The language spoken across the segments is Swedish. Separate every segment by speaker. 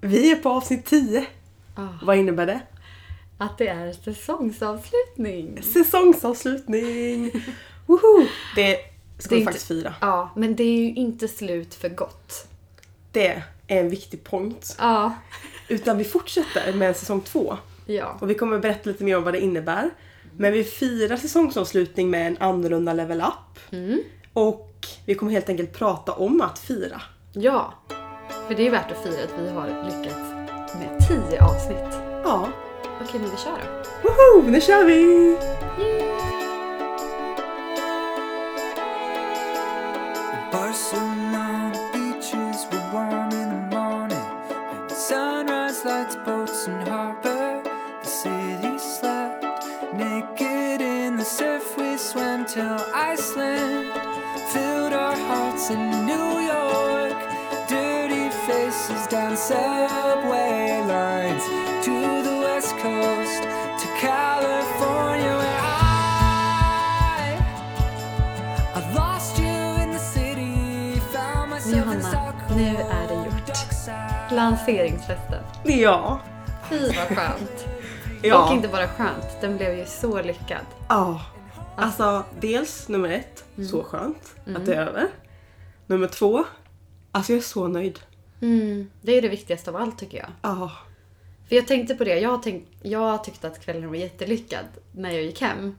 Speaker 1: Vi är på avsnitt 10.
Speaker 2: Ah,
Speaker 1: Vad innebär det?
Speaker 2: att det är säsongsavslutning.
Speaker 1: Säsongsavslutning! Woho! Det ska
Speaker 2: Det är
Speaker 1: vi
Speaker 2: inte-
Speaker 1: faktiskt fira.
Speaker 2: Ja, men det är ju inte slut för gott.
Speaker 1: Det är en viktig point.
Speaker 2: Ja.
Speaker 1: Utan vi fortsätter med en säsong två.
Speaker 2: Ja.
Speaker 1: Och vi kommer berätta lite mer om vad det innebär. Men vi firar säsongsavslutning med en annorlunda level up.
Speaker 2: Mm.
Speaker 1: Och vi kommer helt enkelt prata om att fira.
Speaker 2: Ja. För det är värt att fira att vi har lyckats med 10 avsnitt.
Speaker 1: Ja,
Speaker 2: Okej, men vi kör då.
Speaker 1: woho! Nu kör vi!
Speaker 3: Barcelona beaches were warm in the morning, and the sunrise lights boats and harbor. The city slept naked in the surf. We swam till Iceland, filled our hearts in New York. Dirty faces down subway lines to the west coast to California, where I. I lost you in the city, found myself in
Speaker 2: Johanna,
Speaker 3: Stockholm.
Speaker 2: nu är det gjort. Lanseringsfesten.
Speaker 1: Ja.
Speaker 2: Fy vad skönt.
Speaker 1: Ja.
Speaker 2: Och inte bara skönt, den blev ju så lyckad.
Speaker 1: Ja. Alltså dels nummer ett,
Speaker 2: Mm.
Speaker 1: så skönt att det är över. Nummer två, alltså jag är så nöjd.
Speaker 2: Det är ju det viktigaste av allt tycker jag.
Speaker 1: Ja.
Speaker 2: För jag tänkte på det, jag, tänk, jag tyckte att kvällen var jättelyckad när jag gick hem.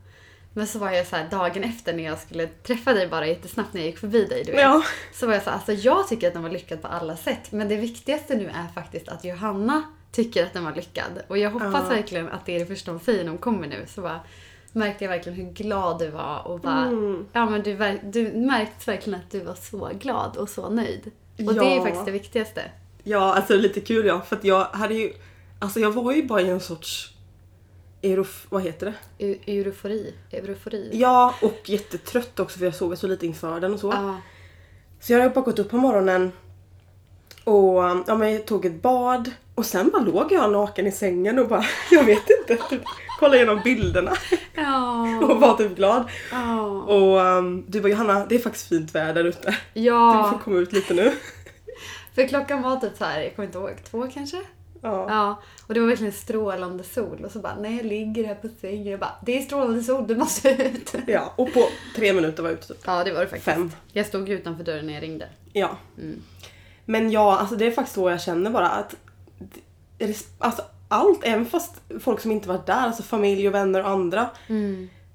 Speaker 2: Men så var jag så här dagen efter när jag skulle träffa dig bara jättesnabbt när jag gick förbi dig. Du vet.
Speaker 1: Ja.
Speaker 2: Så var jag så här, alltså jag tycker att den var lyckad på alla sätt. Men det viktigaste nu är faktiskt att Johanna tycker att den var lyckad. Och jag hoppas
Speaker 1: Ja.
Speaker 2: verkligen att det är det första hon säger när hon kommer nu. Så bara, märkte jag verkligen hur glad du var och bara,
Speaker 1: Mm.
Speaker 2: ja men du, verk- du märkte verkligen att du var så glad och så nöjd. Och det är ju
Speaker 1: Ja.
Speaker 2: faktiskt det viktigaste.
Speaker 1: Ja, alltså det är lite kul ja. För att jag hade ju, alltså jag var ju bara i en sorts Eurof, vad heter det?
Speaker 2: Eu- Eufori. Eufori.
Speaker 1: Ja, och jättetrött också för jag sov så lite inför den och så.
Speaker 2: Ja.
Speaker 1: Så jag hade bara gått upp på morgonen och ja, men jag tog ett bad och sen bara låg jag naken i sängen och bara, jag vet inte, typ, kolla igenom bilderna
Speaker 2: Ja.
Speaker 1: och var typ glad.
Speaker 2: Ja.
Speaker 1: Och ehm, du bara Johanna, det är faktiskt fint väder ute. Du får
Speaker 2: ja.
Speaker 1: komma ut lite nu.
Speaker 2: För klockan var typ så här, jag kommer inte ihåg, två kanske?
Speaker 1: Ja.
Speaker 2: Ja. Och det var verkligen strålande sol och så bara, nej jag ligger här på sängen. Jag bara, det är strålande sol, du måste ut.
Speaker 1: ja. Och på tre minuter var jag ute typ.
Speaker 2: Ja det var det faktiskt.
Speaker 1: Fem.
Speaker 2: Jag stod ju utanför dörren när jag ringde.
Speaker 1: Ja. Men ja, alltså det är faktiskt så jag känner bara att res- alltså, allt, även fast folk som inte varit där, alltså familj och vänner och andra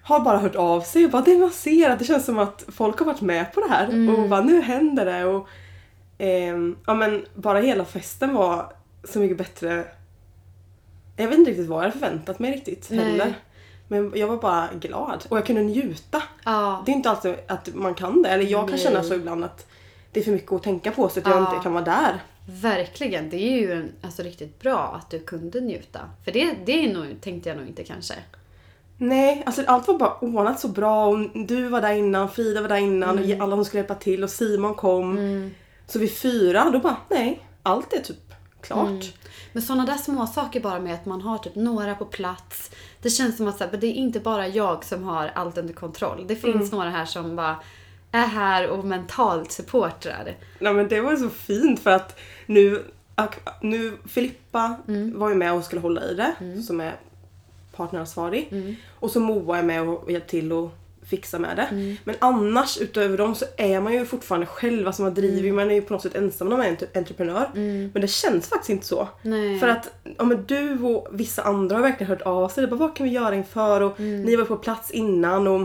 Speaker 1: har bara hört av sig och bara det man ser att det känns som att folk har varit med på det här och bara nu händer det och ehm, ja men bara hela festen var så mycket bättre. Jag vet inte riktigt vad jag hade förväntat mig riktigt
Speaker 2: Nej.
Speaker 1: heller. Men jag var bara glad och jag kunde njuta.
Speaker 2: Ja.
Speaker 1: Det är inte alltid att man kan det. Eller jag kan
Speaker 2: Nej.
Speaker 1: känna så ibland att det är för mycket att tänka på så att jag
Speaker 2: Ja.
Speaker 1: inte kan vara där.
Speaker 2: Verkligen. Det är ju en, alltså, riktigt bra att du kunde njuta. För det, det är nog, tänkte jag nog inte kanske.
Speaker 1: Nej, alltså allt var bara ordnat så bra och du var där innan, Frida var där innan,
Speaker 2: Mm.
Speaker 1: och alla som skulle hjälpa till och Simon kom. Så vid fyra, då bara nej, allt är typ klart.
Speaker 2: Mm. Men sådana där små saker bara med att man har typ några på plats. Det känns som att så här, men det är inte bara jag som har allt under kontroll. Det finns några här som bara är här och mentalt supportrar.
Speaker 1: Nej men det var ju så fint för att nu, ak- nu Filippa var ju med och skulle hålla i det som är partneransvarig. Och så Moa är med och hjälpt till och fixa med det. Men annars utöver dem så är man ju fortfarande själv, alltså man driver ju, man är ju på något sätt ensam när man är en typ entreprenör. Men det känns faktiskt inte så.
Speaker 2: Nej.
Speaker 1: För att ja, men du och vissa andra har verkligen hört av sig. Det bara, vad kan vi göra inför? Och
Speaker 2: Mm.
Speaker 1: Ni var på plats innan. Och,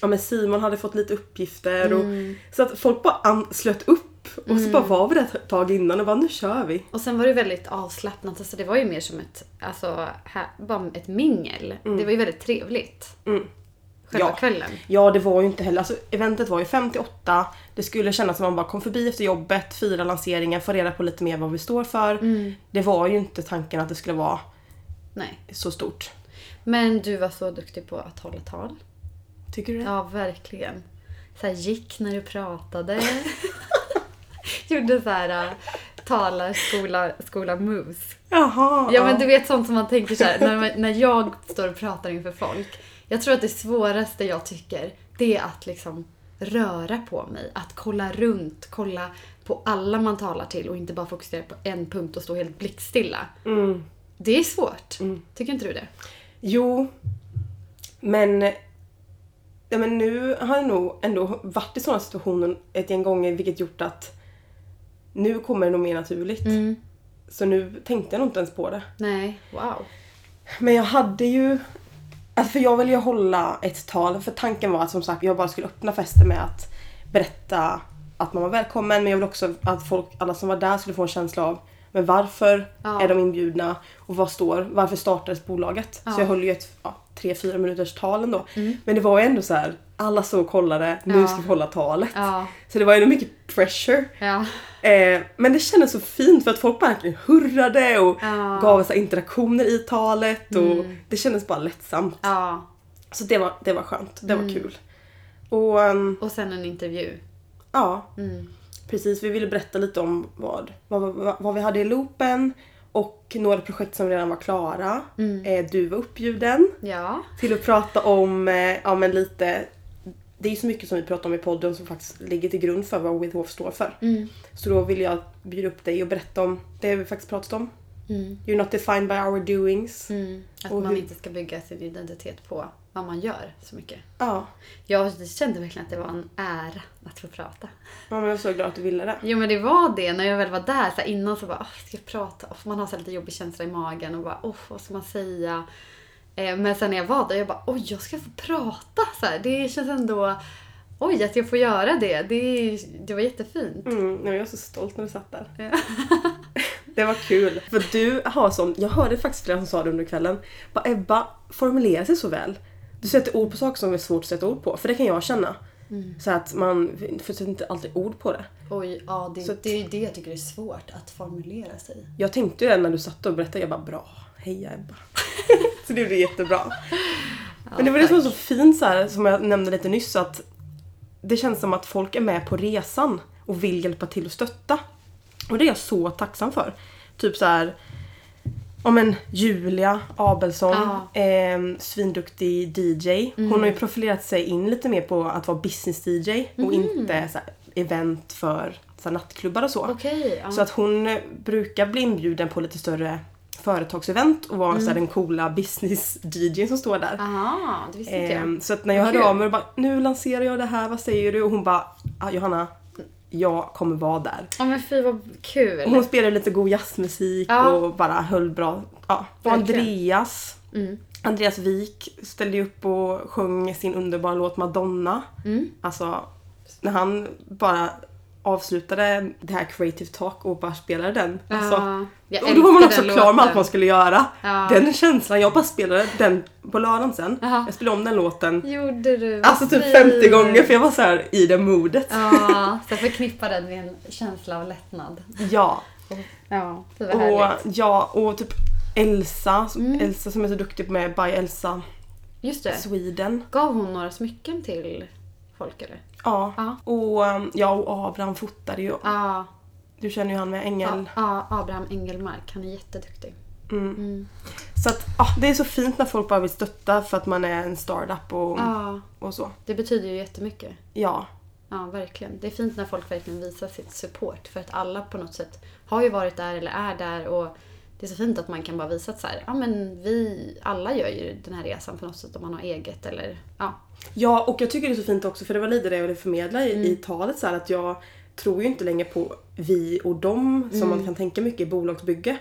Speaker 1: ja, men Simon hade fått lite uppgifter.
Speaker 2: Mm.
Speaker 1: Och, så att folk bara an- slöt upp. Och så bara var vi där ett tag innan och bara nu kör vi.
Speaker 2: Och sen var det väldigt avslappnat. Alltså det var ju mer som ett, alltså, här, bara ett mingel. Det var ju väldigt trevligt. Själva
Speaker 1: Ja.
Speaker 2: kvällen.
Speaker 1: Ja det var ju inte heller, alltså eventet var ju 5 till 8. Det skulle kännas som att man bara kom förbi efter jobbet, fira lanseringen, få reda på lite mer vad vi står för.
Speaker 2: Mm.
Speaker 1: Det var ju inte tanken att det skulle vara
Speaker 2: Nej.
Speaker 1: så stort.
Speaker 2: Men du var så duktig på att hålla tal.
Speaker 1: Tycker du det?
Speaker 2: Ja, verkligen. Så här, gick när du pratade. Gjorde så här äh, talarskola skola moves.
Speaker 1: Jaha.
Speaker 2: Ja men du vet sånt som man tänker så här, när, man- när jag står och pratar inför folk. Jag tror att det svåraste jag tycker, det är att liksom röra på mig. Att kolla runt, kolla på alla man talar till och inte bara fokusera på en punkt och stå helt blickstilla.
Speaker 1: Mm.
Speaker 2: Det är svårt. Tycker inte du det?
Speaker 1: Jo, men, ja, men nu har jag nog ändå varit i sådana situationer ett gäng gånger vilket gjort att nu kommer det nog mer naturligt. Så nu tänkte jag nog inte ens på det.
Speaker 2: Nej. Wow.
Speaker 1: Men jag hade ju... Alltså för jag ville ju hålla ett tal för tanken var att som sagt jag bara skulle öppna festen med att berätta att man var välkommen men jag ville också att folk, alla som var där skulle få en känsla av men varför
Speaker 2: Ja.
Speaker 1: är de inbjudna och vad står, varför startades bolaget?
Speaker 2: Ja. Mm.
Speaker 1: Så jag höll ju ett ja, 3-4 minuters tal ändå. Men det var ju ändå så här, alla såg och kollade, nu
Speaker 2: Ja.
Speaker 1: ska vi hålla talet.
Speaker 2: Ja.
Speaker 1: Så det var ju ändå mycket pressure.
Speaker 2: Ja.
Speaker 1: Eh, men det kändes så fint för att folk verkligen hurrade och
Speaker 2: Ja.
Speaker 1: gav så här interaktioner i talet och det kändes bara lättsamt.
Speaker 2: Ja.
Speaker 1: Så det var, det var skönt, det var kul. Och ehm,
Speaker 2: Och sen en intervju.
Speaker 1: ja, precis vi ville berätta lite om vad, vad, vad, vad vi hade i loopen och några projekt som redan var klara. Eh, du var uppbjuden
Speaker 2: Ja.
Speaker 1: till att prata om, eh, ja men lite, det är ju så mycket som vi pratar om i podden som faktiskt ligger till grund för vad With Hof står för. Så då vill jag bjuda upp dig och berätta om det vi faktiskt pratat om. You're not defined by our doings.
Speaker 2: Mm. Att
Speaker 1: Och
Speaker 2: man
Speaker 1: hur-
Speaker 2: inte ska bygga sin identitet på vad man gör så mycket.
Speaker 1: Ja.
Speaker 2: Jag kände verkligen att det var en ära att få prata.
Speaker 1: ja, men jag är så glad att du ville det.
Speaker 2: Jo men det var det, när jag väl var där så här, innan så bara, "Åh, ska jag prata? Och man har så här lite jobbig känsla i magen och bara, åh vad ska man säga? Eh, men sen när jag var där, jag bara, oj jag ska få prata! Så här, det känns ändå, oj att jag får göra det. Det, det var jättefint.
Speaker 1: Mm, nej, men jag är så stolt när du satt där. Det var kul. För du har sån, jag hörde faktiskt flera som sa det under kvällen. Bara Ebba formulerar sig så väl. Du sätter ord på saker som är svårt att sätta ord på. För det kan jag känna. Så att man för sätter inte alltid ord på det.
Speaker 2: Oj, ja
Speaker 1: Så att-
Speaker 2: det, det är ju det jag tycker är svårt, att formulera sig.
Speaker 1: Jag tänkte ju det när du satt och berättade. Jag bara bra. Heja Ebba. så det gjorde jättebra. Men det var det som var så fint så här, som jag nämnde lite nyss. Att det känns som att folk är med på resan och vill hjälpa till och stötta. Och det är jag så tacksam för. Typ så här. Om en Julia Abelsson,
Speaker 2: Ja. Mm.
Speaker 1: eh, svinduktig DJ. Hon har ju profilerat sig in lite mer på att vara business-DJ
Speaker 2: Mm.
Speaker 1: och inte så här, event för så här, nattklubbar och så.
Speaker 2: Okej, ja.
Speaker 1: Så att hon eh, brukar bli inbjuden på lite större företagsevent och vara så
Speaker 2: Mm.
Speaker 1: här, den coola business-DJn som står där.
Speaker 2: Aha, Ah, det visste inte
Speaker 1: Ehm,
Speaker 2: jag.
Speaker 1: så att när jag
Speaker 2: Vad
Speaker 1: hörde
Speaker 2: kul.
Speaker 1: av mig och bara nu lanserar jag det här, vad säger du? Och hon bara ah, Johanna, jag kommer vara där.
Speaker 2: Ja men fy vad kul.
Speaker 1: Och hon spelade lite god jazzmusik
Speaker 2: Ja.
Speaker 1: och bara höll bra. Ja. Och
Speaker 2: Verkligen. Mm.
Speaker 1: Andreas, Andreas Wik ställde ju upp och sjöng sin underbara låt Madonna.
Speaker 2: Mm.
Speaker 1: Alltså när han bara avslutade det här Creative Talk och bara spelade den.
Speaker 2: Ja,
Speaker 1: Alltså,
Speaker 2: jag
Speaker 1: och då var man också
Speaker 2: älskar den
Speaker 1: klar med allt
Speaker 2: låten.
Speaker 1: man skulle göra.
Speaker 2: Ja.
Speaker 1: Den känslan, jag bara spelade den på lördagen sen.
Speaker 2: Aha.
Speaker 1: Jag spelade om den låten
Speaker 2: Gjorde du? Vad
Speaker 1: Alltså typ
Speaker 2: fint.
Speaker 1: 50 gånger för jag var så här i det modet.
Speaker 2: Ja, så jag förknippar den med en känsla av lättnad.
Speaker 1: Ja.
Speaker 2: Ja, det var
Speaker 1: Och,
Speaker 2: härligt. Mm.
Speaker 1: ja, och typ Elsa, som- Elsa som är så duktig med By Elsa
Speaker 2: Just det.
Speaker 1: Sweden.
Speaker 2: Gav hon några smycken till folk eller?
Speaker 1: Ja.
Speaker 2: Ja.
Speaker 1: Och um, ja, och Abraham fotade ju.
Speaker 2: Ja,
Speaker 1: Du känner ju han med
Speaker 2: ja,
Speaker 1: Engel. Mm.
Speaker 2: ja, Abraham Engelmark. Han är jätteduktig. Mm.
Speaker 1: Så att ja, det är så fint när folk bara vill stötta för att man är en startup och,
Speaker 2: Ja,
Speaker 1: och så.
Speaker 2: det betyder ju jättemycket.
Speaker 1: Ja.
Speaker 2: Ja, verkligen. Det är fint när folk verkligen visar sitt support för att alla på något sätt har ju varit där eller är där och det är så fint att man kan bara visa att så här, ja men vi, alla gör ju den här resan på något sätt om man har eget eller ja.
Speaker 1: Ja, och jag tycker det är så fint också för det var lite det jag ville förmedla i, i talet så här att jag tror ju inte längre på vi och dem som man kan tänka mycket i bolagsbygge.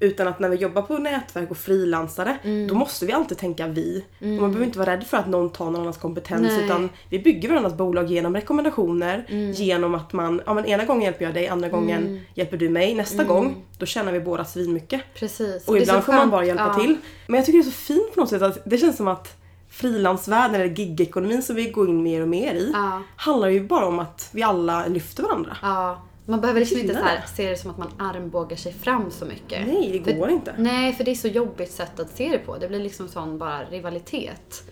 Speaker 1: Utan att när vi jobbar på nätverk och frilansare då måste vi alltid tänka vi. Och man behöver inte vara rädd för att någon tar någon annans kompetens
Speaker 2: Nej.
Speaker 1: utan vi bygger varandras bolag genom rekommendationer, genom att man, ja men ena gången hjälper jag dig, andra gången hjälper du mig. Nästa gång, då tjänar vi båda svinmycket.
Speaker 2: Precis.
Speaker 1: Och
Speaker 2: Det är
Speaker 1: ibland
Speaker 2: så
Speaker 1: får man
Speaker 2: skönt.
Speaker 1: bara hjälpa
Speaker 2: Ja.
Speaker 1: till. Men jag tycker det är så fint på något sätt att det känns som att frilansvärlden eller gigekonomin som vi går in mer och mer i
Speaker 2: Ja.
Speaker 1: handlar ju bara om att vi alla lyfter varandra.
Speaker 2: Ja, man behöver liksom inte så
Speaker 1: Gillar
Speaker 2: här, se det som att man armbågar sig fram så mycket.
Speaker 1: Nej, det
Speaker 2: för,
Speaker 1: går inte.
Speaker 2: Nej, för det är så jobbigt sätt att se det på. Det blir liksom sån bara rivalitet.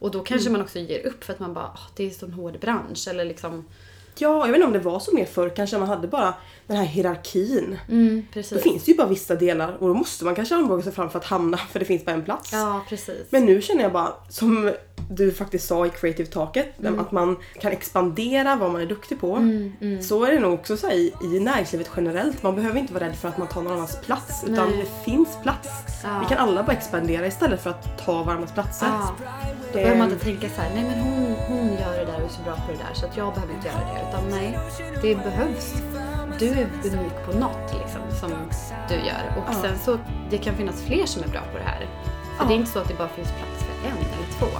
Speaker 2: Och då kanske
Speaker 1: Mm.
Speaker 2: man också ger upp för att man bara, "Ah, det är så en hård bransch. Eller liksom,
Speaker 1: Ja, jag vet inte om det var så mer förr kanske man hade bara den här hierarkin. Då
Speaker 2: Mm. precis.
Speaker 1: finns Mm. det ju bara vissa delar och då måste man kanske armbåga sig fram för att hamna för det finns bara en plats.
Speaker 2: Ja, precis.
Speaker 1: Men nu känner jag bara som du faktiskt sa i creative talket,
Speaker 2: Mm.
Speaker 1: att man kan expandera vad man är duktig på.
Speaker 2: mm.
Speaker 1: Så är det nog också så här, i, i näringslivet generellt. Man behöver inte vara rädd för att man tar någon annans plats utan
Speaker 2: Nej.
Speaker 1: det finns plats.
Speaker 2: Ja.
Speaker 1: Vi kan alla bara expandera istället för att ta varandras platser.
Speaker 2: Ja. Då behöver man inte tänka så här, nej men hon, hon gör det där och är så bra på det där så att jag behöver inte göra det. Utan nej, det behövs. Du är unik på något liksom som du gör. Och
Speaker 1: Ja.
Speaker 2: sen så, det kan finnas fler som är bra på det här. För det är inte så att det bara finns plats för en eller två.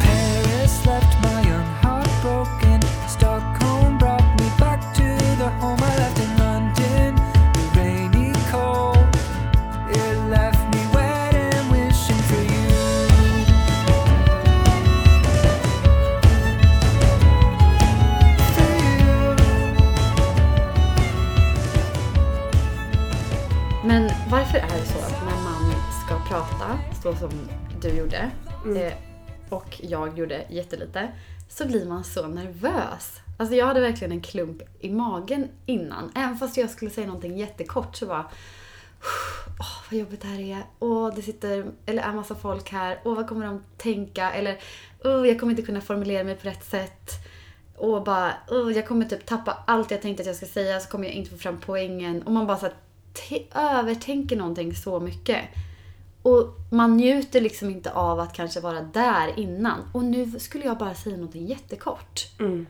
Speaker 3: Paris left my young heart broken. Stockholm brought me back to the home I left in London. The rainy cold, it left me wet and wishing for you. For you.
Speaker 2: Men varför är det så att när man ska prata, så som du gjorde, eh, och jag gjorde jättelite, så blir man så nervös. Alltså jag hade verkligen en klump i magen innan. Även fast jag skulle säga någonting jättekort så bara Åh, vad jobbigt det här är. Åh, det sitter, eller är massa folk här. Åh, vad kommer de tänka? Eller, åh, jag kommer inte kunna formulera mig på rätt sätt. Och bara, åh, jag kommer typ tappa allt jag tänkte att jag ska säga så kommer jag inte få fram poängen. Och man bara så här, te- övertänker någonting så mycket. Och man njuter liksom inte av att kanske vara där innan. Och nu skulle jag bara säga någonting jättekort.
Speaker 1: Mm.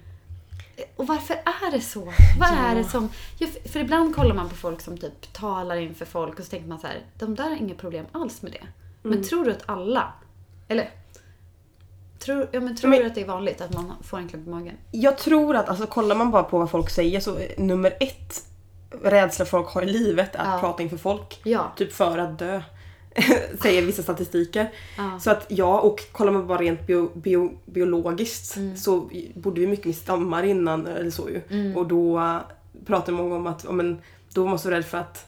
Speaker 2: Och varför är det så? Vad är det som... Ja, för- för ibland kollar man på folk som typ talar inför folk och så tänker man så här, de där har inga problem alls med det. Men tror du att alla... Eller... Tror, ja, men tror
Speaker 1: Men-
Speaker 2: du att det är vanligt att man får en klump i magen?
Speaker 1: Jag tror att, alltså kollar man bara på vad folk säger så eh, nummer ett rädsla folk har i livet är att
Speaker 2: Ja.
Speaker 1: prata inför folk.
Speaker 2: Ja.
Speaker 1: Typ för att dö. Säger vissa statistiker.
Speaker 2: Ja.
Speaker 1: Så att ja, och kollar man bara rent bio, bio, biologiskt
Speaker 2: Mm.
Speaker 1: så bodde vi mycket med stammar innan eller så ju. Och då eh, pratar många om att, ja, men, då var man så rädd för att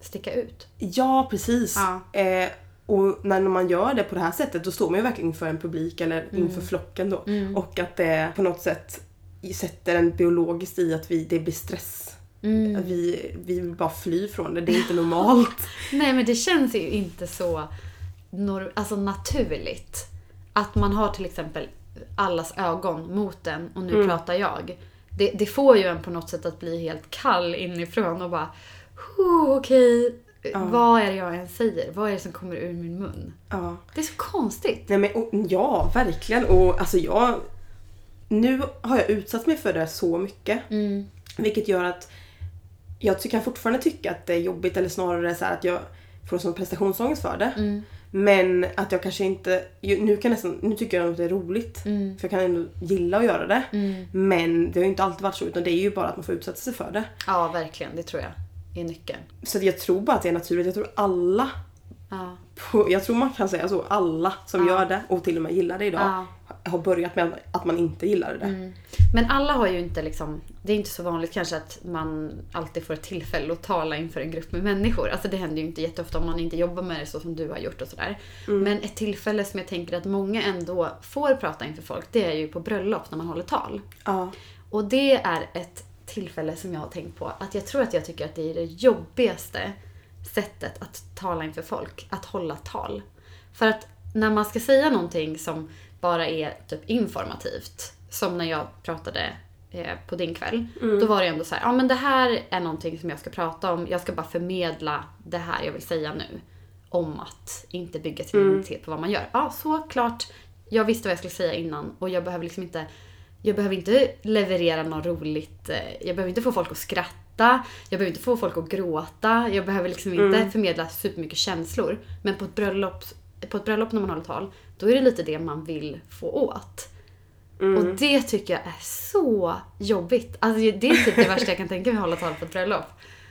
Speaker 2: Sticka ut?
Speaker 1: Ja, precis.
Speaker 2: Ja.
Speaker 1: Eh, och när man gör det på det här sättet då står man ju verkligen inför en publik eller
Speaker 2: Mm.
Speaker 1: inför flocken då. Och att det på något sätt i- sätter en biologiskt i att vi, det blir stress.
Speaker 2: Mm.
Speaker 1: Vi, vi vill bara fly från det, det är inte normalt.
Speaker 2: Nej, men det känns ju inte så nor- alltså naturligt. Att man har till exempel allas ögon mot en och nu pratar jag. Det, det får ju en på något sätt att bli helt kall inifrån och bara "Huh, okej, vad är det jag än säger? Vad är det som kommer ur min mun?
Speaker 1: ja.
Speaker 2: Det är så konstigt.
Speaker 1: Nej, men, och, ja, verkligen. Och alltså jag... Nu har jag utsatt mig för det så mycket. Vilket gör att jag ty- kan fortfarande tycka att det är jobbigt eller snarare så här att jag får sån prestationsångest för det. Men att jag kanske inte... ju- Nu, kan jag nästan, nu tycker jag nog att det är roligt. För jag kan ändå gilla att göra det. Men det har ju inte alltid varit så utan det är ju bara att man får utsätta sig för det.
Speaker 2: Ja, verkligen. Det tror jag är nyckeln.
Speaker 1: Så att jag tror bara att det är naturligt. Jag tror alla
Speaker 2: Ja.
Speaker 1: på- jag tror man kan säga så, alla som gör det och till och med gillar det idag har börjat med att man inte gillade det.
Speaker 2: Mm. Men alla har ju inte liksom, det är inte så vanligt kanske att man alltid får ett tillfälle att tala inför en grupp med människor. Alltså det händer ju inte jätteofta om man inte jobbar med det så som du har gjort och sådär. Men ett tillfälle som jag tänker att många ändå får prata inför folk, det är ju på bröllop när man håller tal.
Speaker 1: Ja.
Speaker 2: Och det är ett tillfälle som jag har tänkt på. Att jag tror att jag tycker att det är det jobbigaste sättet att tala inför folk. Att hålla tal. För att när man ska säga någonting som bara är typ informativt. Som när jag pratade eh, på din kväll. Då var det ändå så här, ja men det här är någonting som jag ska prata om. Jag ska bara förmedla det här jag vill säga nu. Om att inte bygga sin identitet på vad man gör. Ja, såklart. Jag visste vad jag skulle säga innan och jag behöver liksom inte jag behöver inte leverera något roligt. eh, Jag behöver inte få folk att skratta. Jag behöver inte få folk att gråta. Jag behöver liksom inte förmedla supermycket känslor. Men på ett, bröllop, på ett bröllop när man håller tal, då är det lite det man vill få åt. Och det tycker jag är så jobbigt. Alltså det är typ det värsta jag kan tänka mig att hålla tal på ett bröllop.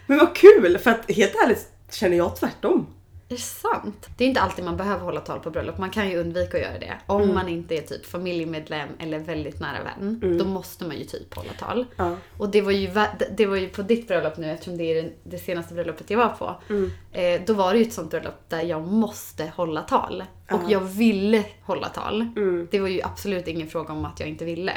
Speaker 1: Men vad kul! För att helt ärligt känner jag tvärtom.
Speaker 2: Är det sant? Det är inte alltid man behöver hålla tal på bröllop. Man kan ju undvika att göra det. Om man inte är typ familjemedlem eller väldigt nära vän. Då måste man ju typ hålla tal.
Speaker 1: Ja.
Speaker 2: Och det var, ju, va- det var ju på ditt bröllop nu eftersom det är det- det senaste bröllopet jag var på. Eh, då var det ju ett sånt bröllop där jag måste hålla tal. Och jag ville hålla tal. Det var ju absolut ingen fråga om att jag inte ville.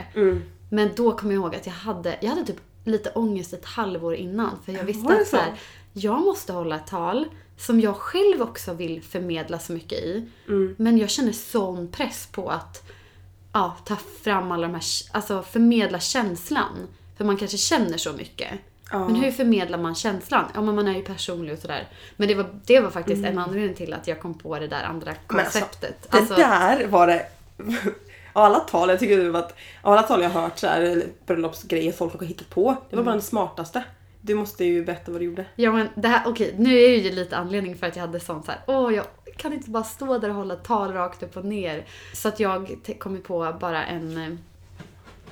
Speaker 2: Men då kom jag ihåg att jag hade, jag hade typ lite ångest ett halvår innan. För jag visste
Speaker 1: Var det
Speaker 2: att så
Speaker 1: så?
Speaker 2: här, jag måste hålla ett tal som jag själv också vill förmedla så mycket i.
Speaker 1: Mm.
Speaker 2: Men jag känner sån press på att ja, ta fram alla de här, alltså förmedla känslan. För man kanske känner så mycket.
Speaker 1: Ja.
Speaker 2: Men hur förmedlar man känslan? Ja men man är ju personlig och sådär. Men det var, det var faktiskt en anledning till att jag kom på det där andra
Speaker 1: Mm. Men alltså,
Speaker 2: konceptet.
Speaker 1: Det
Speaker 2: Alltså,
Speaker 1: där var det... Av alla tal jag tycker det var att, av alla tal jag har hört så här, eller bröllopsgrejer folk har hittat på. Det var bara
Speaker 2: Mm.
Speaker 1: den smartaste. Du måste ju berätta vad du gjorde.
Speaker 2: Ja men det här, okej nu är ju lite anledning för att jag hade sånt så här. åh jag kan inte bara stå där och hålla tal rakt upp och ner. Så att jag te- kommer på bara en, eh,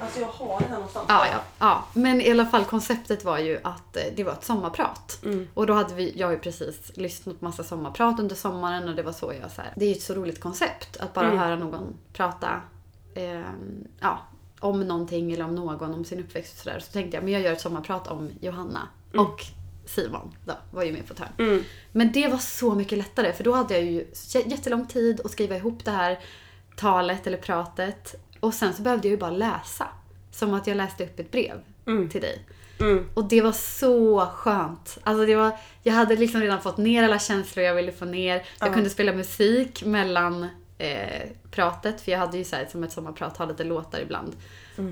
Speaker 1: Alltså jag har den här någonstans.
Speaker 2: ja ja, ja. Men i alla fall konceptet var ju att eh, det var ett sommarprat. Och då hade vi, jag har ju precis lyssnat på massa sommarprat under sommaren och det var så jag så här. det är ju ett så roligt koncept att bara höra någon prata, eh, ja om någonting eller om någon, om sin uppväxt och sådär. Så tänkte jag, men jag gör ett sommarprat om Johanna. Och Simon då, var ju med på ett hörn.
Speaker 1: Mm,
Speaker 2: Men det var så mycket lättare för då hade jag ju j- jättelång tid att skriva ihop det här talet eller pratet. Och sen så behövde jag ju bara läsa. Som att jag läste upp ett brev
Speaker 1: Mm.
Speaker 2: till dig. Och det var så skönt. Alltså det var, jag hade liksom redan fått ner alla känslor jag ville få ner. Jag kunde spela musik mellan eh, pratet, för jag hade ju så här, som ett sommarprat, har lite låtar ibland.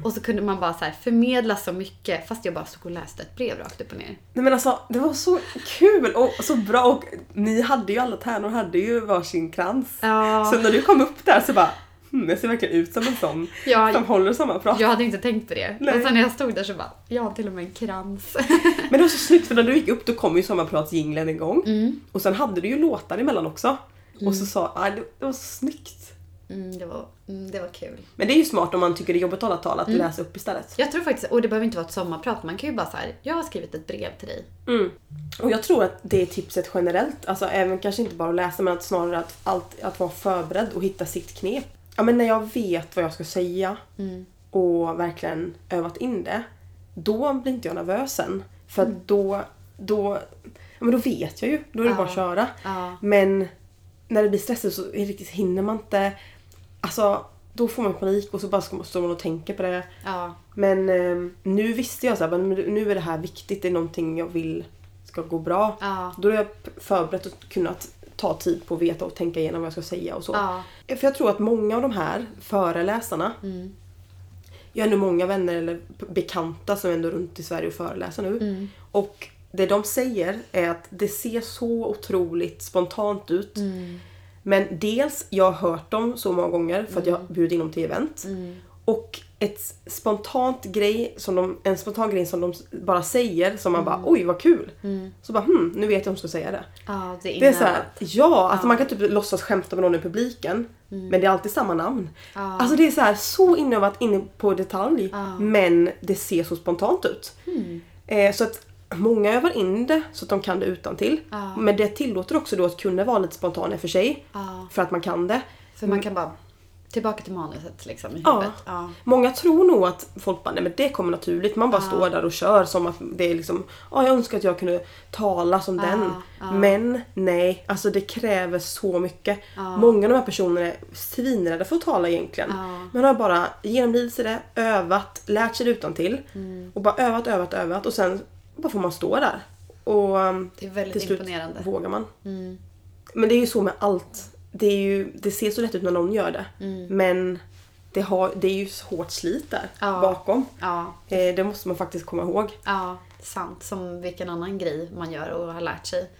Speaker 2: Och så kunde man bara så här, förmedla så mycket, fast jag bara stod och läste ett brev rakt upp och ner.
Speaker 1: Nej men alltså det var så kul och så bra och ni hade ju alla tärnor hade ju varsin krans.
Speaker 2: Ja.
Speaker 1: Så när du kom upp där så bara hmm, jag ser verkligen ut som en sån
Speaker 2: Ja.
Speaker 1: som håller sommarprat.
Speaker 2: Jag hade inte tänkt på det.
Speaker 1: Nej.
Speaker 2: Men sen när jag stod där så bara, jag har till och med en krans.
Speaker 1: Men det var så snyggt för när du gick upp då kom ju sommarpratsjingeln igång.
Speaker 2: Mm.
Speaker 1: Och sen hade du ju låtar emellan också. Och så sa ah, det, det var så snyggt.
Speaker 2: Mm, det, var, mm, det var kul.
Speaker 1: Men det är ju smart om man tycker det är jobbigt att hålla tal att
Speaker 2: Mm.
Speaker 1: läsa upp istället.
Speaker 2: Jag tror faktiskt, och det behöver inte vara ett sommarprat, man kan ju bara så här, jag har skrivit ett brev till dig.
Speaker 1: Och jag tror att det är tipset generellt, alltså även kanske inte bara att läsa men att snarare att, allt, att vara förberedd och hitta sitt knep. Ja men när jag vet vad jag ska säga
Speaker 2: Mm.
Speaker 1: och verkligen övat in det, då blir inte jag nervös sen. För
Speaker 2: Mm.
Speaker 1: att då, då, ja, men då vet jag ju, då är det
Speaker 2: Ja.
Speaker 1: bara att köra.
Speaker 2: Ja.
Speaker 1: Men när det blir stressigt så är det riktigt hinner man inte, alltså då får man panik och så bara ska- står man och tänker på det.
Speaker 2: Ja.
Speaker 1: Men eh, nu visste jag så här, men nu är det här viktigt, det är någonting jag vill ska gå bra.
Speaker 2: Ja.
Speaker 1: Då är jag p- förberett och kunnat ta tid på att veta och tänka igenom vad jag ska säga och så. Eh,
Speaker 2: Ja.
Speaker 1: För jag tror att många av de här föreläsarna, jag har ändå många vänner eller p- bekanta som är ändå runt i Sverige och föreläser nu. Och det de säger är att det ser så otroligt spontant ut. Men dels, jag har hört dem så många gånger för att jag har bjudit in dem till event. Och ett spontant grej som de, en spontan grej som de s- bara säger som man bara oj vad kul. Så bara hmm, nu vet jag om de ska säga det.
Speaker 2: Ja, det är,
Speaker 1: Det är så här, ja, alltså man kan typ låtsas skämta med någon i publiken. Men det är alltid samma namn. Alltså det är så här så inövat inne på detalj. Men det ser så spontant ut. Eh, så att många övar in det så att de kan det utan till. Men det tillåter också då att kunna vara lite spontan i och för sig.
Speaker 2: Ja.
Speaker 1: För att man kan det.
Speaker 2: För man kan bara tillbaka till manuset liksom i
Speaker 1: Ja.
Speaker 2: huvudet. Mm. Ja.
Speaker 1: Många tror nog att folk bara, nej men det kommer naturligt. Man bara står där och kör som att det är liksom, ja jag önskar att jag kunde tala som den. Men nej, alltså det kräver så mycket. Många av de här personerna är svinrädda för att tala egentligen.
Speaker 2: Ja.
Speaker 1: Men har bara genomlidit sig det, övat, lärt sig det utantill.
Speaker 2: Mm.
Speaker 1: Och bara övat, övat, övat och sen bara får man stå där. Och um,
Speaker 2: Det är väldigt
Speaker 1: till slut
Speaker 2: imponerande.
Speaker 1: vågar man. Men det är ju så med allt. Det, är ju, det ser så lätt ut när någon gör det. Men det, har, det är ju hårt slit där
Speaker 2: Ja.
Speaker 1: bakom.
Speaker 2: Ja.
Speaker 1: Eh, det måste man faktiskt komma ihåg.
Speaker 2: ja, sant. Som vilken annan grej man gör och har lärt sig.